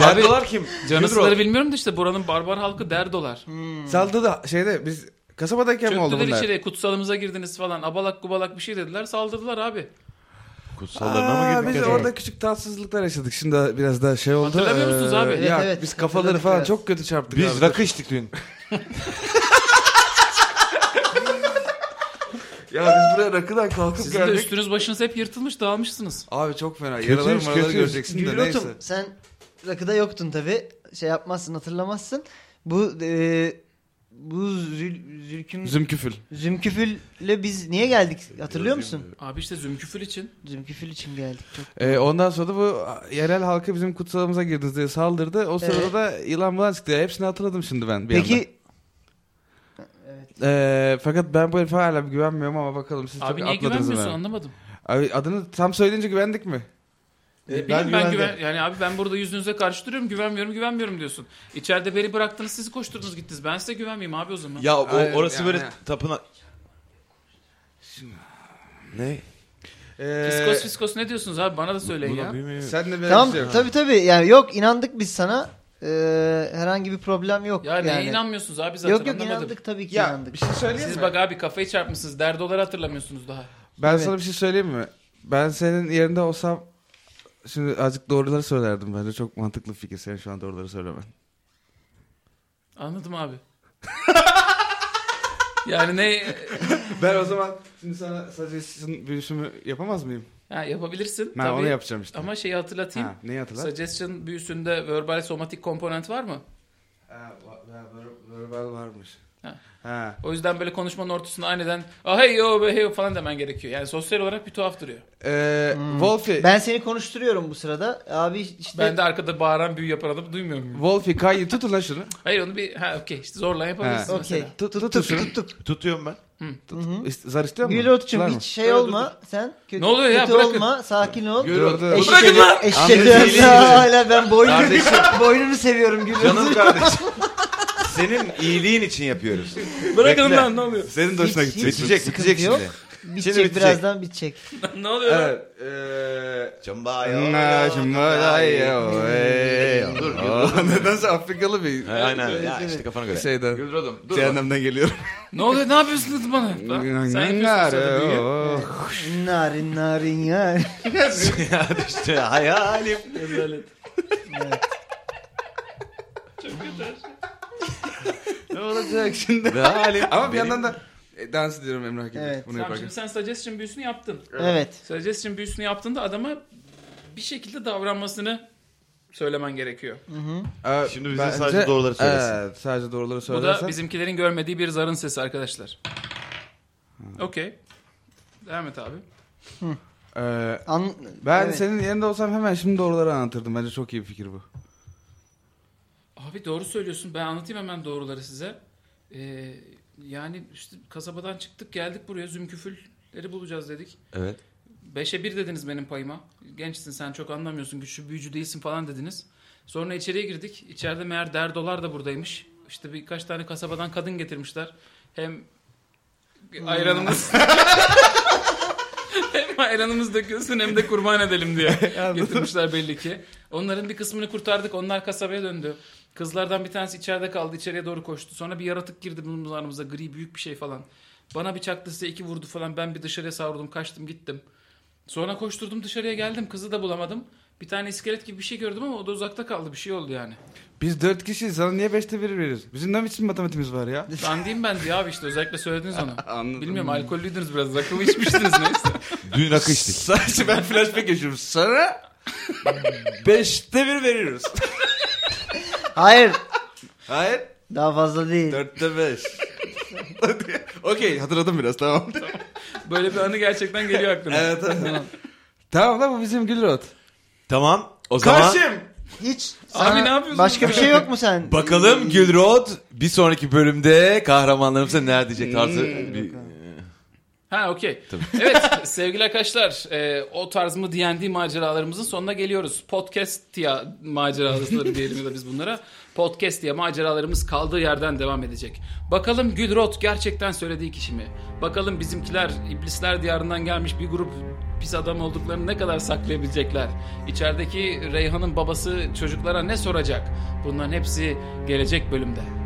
[SPEAKER 5] Derdolar kim?
[SPEAKER 1] Canısları
[SPEAKER 5] Gülrot.
[SPEAKER 1] bilmiyorum da işte buranın barbar halkı derdolar.
[SPEAKER 4] Saldı da şeyde biz kasabadayken mi oldu
[SPEAKER 1] Hmm. Çöktüler
[SPEAKER 4] bunlar?
[SPEAKER 1] içeri kutsalımıza girdiniz falan abalak gubalak bir şey dediler saldırdılar abi.
[SPEAKER 5] Kutsallarına
[SPEAKER 4] Aa,
[SPEAKER 5] mı
[SPEAKER 4] biz
[SPEAKER 5] girdik? acaba?
[SPEAKER 4] orada küçük tatsızlıklar yaşadık. Şimdi biraz daha şey oldu.
[SPEAKER 1] Hatırlamıyor musunuz abi?
[SPEAKER 4] Ya,
[SPEAKER 2] Evet, evet,
[SPEAKER 4] Biz kafaları
[SPEAKER 2] hatırladık
[SPEAKER 4] falan
[SPEAKER 2] biraz.
[SPEAKER 4] çok kötü çarptık
[SPEAKER 5] Biz
[SPEAKER 4] abi.
[SPEAKER 5] rakı içtik dün.
[SPEAKER 4] Ya biz buraya rakıdan kalkıp
[SPEAKER 1] Sizin de
[SPEAKER 4] geldik.
[SPEAKER 1] üstünüz başınız hep yırtılmış dağılmışsınız.
[SPEAKER 4] Abi çok fena.
[SPEAKER 5] Kötüyüz,
[SPEAKER 4] Yaraları maraları
[SPEAKER 5] kötüyüz.
[SPEAKER 4] göreceksin de neyse.
[SPEAKER 2] Gülrot'um sen rakıda yoktun tabi. Şey yapmazsın hatırlamazsın. Bu e, bu zül, zülküm,
[SPEAKER 4] Zümküfül.
[SPEAKER 2] Zümküfül'le biz niye geldik hatırlıyor musun?
[SPEAKER 1] Abi işte zümküfül için.
[SPEAKER 2] Zümküfül için geldik. Çok
[SPEAKER 4] Ee, ondan sonra da bu yerel halka bizim kutsalımıza girdiniz diye saldırdı. O sırada
[SPEAKER 2] Evet.
[SPEAKER 4] da yılan falan çıktı. Hepsini hatırladım şimdi ben bir yandan.
[SPEAKER 2] Peki
[SPEAKER 4] Ee, fakat ben bu herife hala güvenmiyorum ama bakalım siz
[SPEAKER 1] Abi
[SPEAKER 4] çok
[SPEAKER 1] niye
[SPEAKER 4] atladınız
[SPEAKER 1] güvenmiyorsun
[SPEAKER 4] hemen.
[SPEAKER 1] anlamadım.
[SPEAKER 4] Abi adını tam söyleyince güvendik mi?
[SPEAKER 1] Ne
[SPEAKER 5] E,
[SPEAKER 1] bileyim ben,
[SPEAKER 5] güvendim.
[SPEAKER 1] güven yani abi ben burada yüzünüze karşı duruyorum güvenmiyorum güvenmiyorum diyorsun. İçeride beni bıraktınız sizi koşturdunuz gittiniz. Ben size güvenmeyeyim abi o zaman.
[SPEAKER 5] Ya o,
[SPEAKER 4] Aynen,
[SPEAKER 5] orası
[SPEAKER 4] yani.
[SPEAKER 5] böyle tapınak. Ne?
[SPEAKER 4] Ee,
[SPEAKER 1] fiskos fiskos ne diyorsunuz abi bana da söyleyin ya.
[SPEAKER 4] Sen de
[SPEAKER 2] tamam
[SPEAKER 4] şey yok.
[SPEAKER 2] tabi tabi yani yok inandık biz sana. E, herhangi bir problem yok.
[SPEAKER 1] Ya neye
[SPEAKER 2] yani.
[SPEAKER 1] inanmıyorsunuz abi zaten
[SPEAKER 2] Yok yok
[SPEAKER 1] anlamadım.
[SPEAKER 2] inandık tabii ki
[SPEAKER 4] Ya
[SPEAKER 2] inandık.
[SPEAKER 4] bir şey söyleyeyim
[SPEAKER 1] Siz
[SPEAKER 4] mi?
[SPEAKER 1] bak abi kafayı çarpmışsınız. Derdoları hatırlamıyorsunuz daha.
[SPEAKER 4] ben
[SPEAKER 2] Evet.
[SPEAKER 4] sana bir şey söyleyeyim mi? Ben senin yerinde olsam şimdi azıcık doğruları söylerdim bence. Çok mantıklı bir fikir senin şu an doğruları söylemen.
[SPEAKER 1] Anladım abi. yani ne
[SPEAKER 4] Ben o zaman şimdi sana suggestion büyüsümü yapamaz mıyım?
[SPEAKER 1] ha, yapabilirsin
[SPEAKER 4] Ben
[SPEAKER 1] tabii.
[SPEAKER 4] onu yapacağım işte.
[SPEAKER 1] Ama şeyi hatırlatayım.
[SPEAKER 4] Ha, neyi hatırlat?
[SPEAKER 1] Suggestion büyüsünde verbal somatik komponent var mı?
[SPEAKER 4] Ha, va- va- ver- verbal varmış.
[SPEAKER 1] Ha.
[SPEAKER 4] Ha.
[SPEAKER 1] O yüzden böyle konuşmanın ortasında aniden ah hey yo be hey yo" falan demen gerekiyor. Yani sosyal olarak bir tuhaf duruyor.
[SPEAKER 4] Ee, Wolfie,
[SPEAKER 2] Hmm. Ben seni konuşturuyorum bu sırada. Abi işte
[SPEAKER 1] Ben de arkada bağıran büyü yapan adamı duymuyor muyum?
[SPEAKER 4] Wolfie Kayı tutun lan şunu.
[SPEAKER 1] Hayır onu bir ha okey işte zorla yapabilirsin
[SPEAKER 4] Ha,
[SPEAKER 2] okey.
[SPEAKER 1] mesela.
[SPEAKER 4] Tut, tut, tut
[SPEAKER 2] Tuttuk
[SPEAKER 4] şunu.
[SPEAKER 2] tuttuk.
[SPEAKER 5] Tutuyorum ben.
[SPEAKER 4] Tut. İst- Zar istiyor musun?
[SPEAKER 2] Gülot'cum
[SPEAKER 4] Var
[SPEAKER 2] hiç
[SPEAKER 4] mı?
[SPEAKER 2] şey olma. Sen kötü,
[SPEAKER 1] Ne oluyor ya?
[SPEAKER 2] kötü
[SPEAKER 1] Bırakın.
[SPEAKER 2] olma. Sakin ol.
[SPEAKER 4] Gülrot.
[SPEAKER 2] Eşek
[SPEAKER 4] Bırakın
[SPEAKER 2] ediyor- eşek
[SPEAKER 5] Amca
[SPEAKER 2] ediyor.
[SPEAKER 5] zehirli
[SPEAKER 2] Hala ben boynunu,
[SPEAKER 5] Kardeşim.
[SPEAKER 2] boynunu seviyorum Gülot'u.
[SPEAKER 5] Canım kardeşim. Senin iyiliğin için yapıyoruz.
[SPEAKER 1] Bırakın
[SPEAKER 5] Bekle.
[SPEAKER 1] lan ne oluyor?
[SPEAKER 5] Senin de hoşuna
[SPEAKER 2] Hiç-
[SPEAKER 5] gidecek.
[SPEAKER 2] hiç
[SPEAKER 5] Bitecek,
[SPEAKER 2] sıkıntı
[SPEAKER 5] bitecek
[SPEAKER 2] yok.
[SPEAKER 5] şimdi.
[SPEAKER 2] Bitecek,
[SPEAKER 5] bitecek.
[SPEAKER 2] birazdan bitecek.
[SPEAKER 1] ne oluyor lan?
[SPEAKER 4] Evet.
[SPEAKER 5] e,
[SPEAKER 4] eee,
[SPEAKER 5] Cumbayo.
[SPEAKER 4] na- cumbayo, eee.
[SPEAKER 5] Dur,
[SPEAKER 4] Aa, Nedense Afrikalı bir
[SPEAKER 5] Ha, Aynen ya
[SPEAKER 2] evet.
[SPEAKER 5] işte kafana göre.
[SPEAKER 4] şeyden.
[SPEAKER 3] Gülrod'um dur. bak.
[SPEAKER 5] Cehennemden geliyorum.
[SPEAKER 1] Ne oluyor? Ne yapıyorsunuz bana? Lan, Sen yapıyorsun sırada büyüyü.
[SPEAKER 4] Nare, oh.
[SPEAKER 2] Narin narin ya.
[SPEAKER 5] ya işte hayalim.
[SPEAKER 1] Rezalet.
[SPEAKER 2] Evet.
[SPEAKER 4] Ne olacak şimdi?
[SPEAKER 5] Ne halim.
[SPEAKER 4] Ama bir yandan da e, dans ediyorum Emrah gibi.
[SPEAKER 2] Evet.
[SPEAKER 4] Bunu
[SPEAKER 1] Tamam
[SPEAKER 4] yaparken.
[SPEAKER 1] şimdi sen suggestion büyüsünü yaptın.
[SPEAKER 2] evet.
[SPEAKER 1] Suggestion büyüsünü yaptığında adama bir şekilde davranmasını söylemen gerekiyor.
[SPEAKER 4] Ee,
[SPEAKER 5] Şimdi bize sadece doğruları söylesin.
[SPEAKER 4] Evet, sadece doğruları
[SPEAKER 1] Bu
[SPEAKER 4] söylersen.
[SPEAKER 1] da bizimkilerin görmediği bir zarın sesi arkadaşlar. Okey. Devam et abi.
[SPEAKER 4] Ee,
[SPEAKER 2] An-
[SPEAKER 4] ben
[SPEAKER 2] evet.
[SPEAKER 4] senin yerinde olsam hemen şimdi doğruları anlatırdım. Bence çok iyi bir fikir bu.
[SPEAKER 1] Abi doğru söylüyorsun. Ben anlatayım hemen doğruları size. Ee, yani işte kasabadan çıktık geldik buraya. Zümküfülleri bulacağız dedik.
[SPEAKER 5] Evet.
[SPEAKER 1] Beşe bir dediniz benim payıma. Gençsin sen çok anlamıyorsun güçlü büyücü değilsin falan dediniz. Sonra içeriye girdik. İçeride meğer derdolar da buradaymış. İşte birkaç tane kasabadan kadın getirmişler. Hem ayranımız... hem ayranımız dökülsün hem de kurban edelim diye getirmişler belli ki. Onların bir kısmını kurtardık. Onlar kasabaya döndü. Kızlardan bir tanesi içeride kaldı. içeriye doğru koştu. Sonra bir yaratık girdi bunun aramıza. Gri büyük bir şey falan. Bana bir çaktı size iki vurdu falan. Ben bir dışarıya savruldum. Kaçtım gittim. Sonra koşturdum dışarıya geldim. Kızı da bulamadım. Bir tane iskelet gibi bir şey gördüm ama o da uzakta kaldı. Bir şey oldu yani.
[SPEAKER 4] Biz dört kişiyiz sana niye beşte bir veririz? Bizim ne biçim matematiğimiz var ya?
[SPEAKER 1] Dandiyim ben diye abi işte özellikle söylediniz onu.
[SPEAKER 4] Anladım.
[SPEAKER 1] Bilmiyorum alkollüydünüz biraz. Akıllı içmiştiniz neyse.
[SPEAKER 3] Dün rakı içtik.
[SPEAKER 5] Sadece ben flashback yaşıyorum. Sana beşte bir veriyoruz.
[SPEAKER 2] Hayır.
[SPEAKER 5] Hayır.
[SPEAKER 2] Daha fazla değil.
[SPEAKER 5] Dörtte beş. Okey hatırladım biraz tamam.
[SPEAKER 1] Böyle bir anı gerçekten geliyor aklıma.
[SPEAKER 5] Evet, evet.
[SPEAKER 4] Tamam lan bu bizim Gülrot.
[SPEAKER 3] Tamam. O zaman
[SPEAKER 5] Karşım.
[SPEAKER 2] Hiç.
[SPEAKER 1] Abi
[SPEAKER 2] sana
[SPEAKER 1] ne yapıyorsun
[SPEAKER 2] Başka bir
[SPEAKER 1] sen?
[SPEAKER 2] şey yok mu sen?
[SPEAKER 3] bakalım Gülrod bir sonraki bölümde kahramanlarımıza neler diyecek tarzı bir...
[SPEAKER 1] Ha okey. Evet sevgili arkadaşlar e, o tarz mı D&D maceralarımızın sonuna geliyoruz. Podcast ya maceraları diyelim ya da biz bunlara. Podcast ya maceralarımız kaldığı yerden devam edecek. Bakalım Gülrot gerçekten söylediği kişi mi? Bakalım bizimkiler iblisler diyarından gelmiş bir grup pis adam olduklarını ne kadar saklayabilecekler? İçerideki Reyhan'ın babası çocuklara ne soracak? Bunların hepsi gelecek bölümde.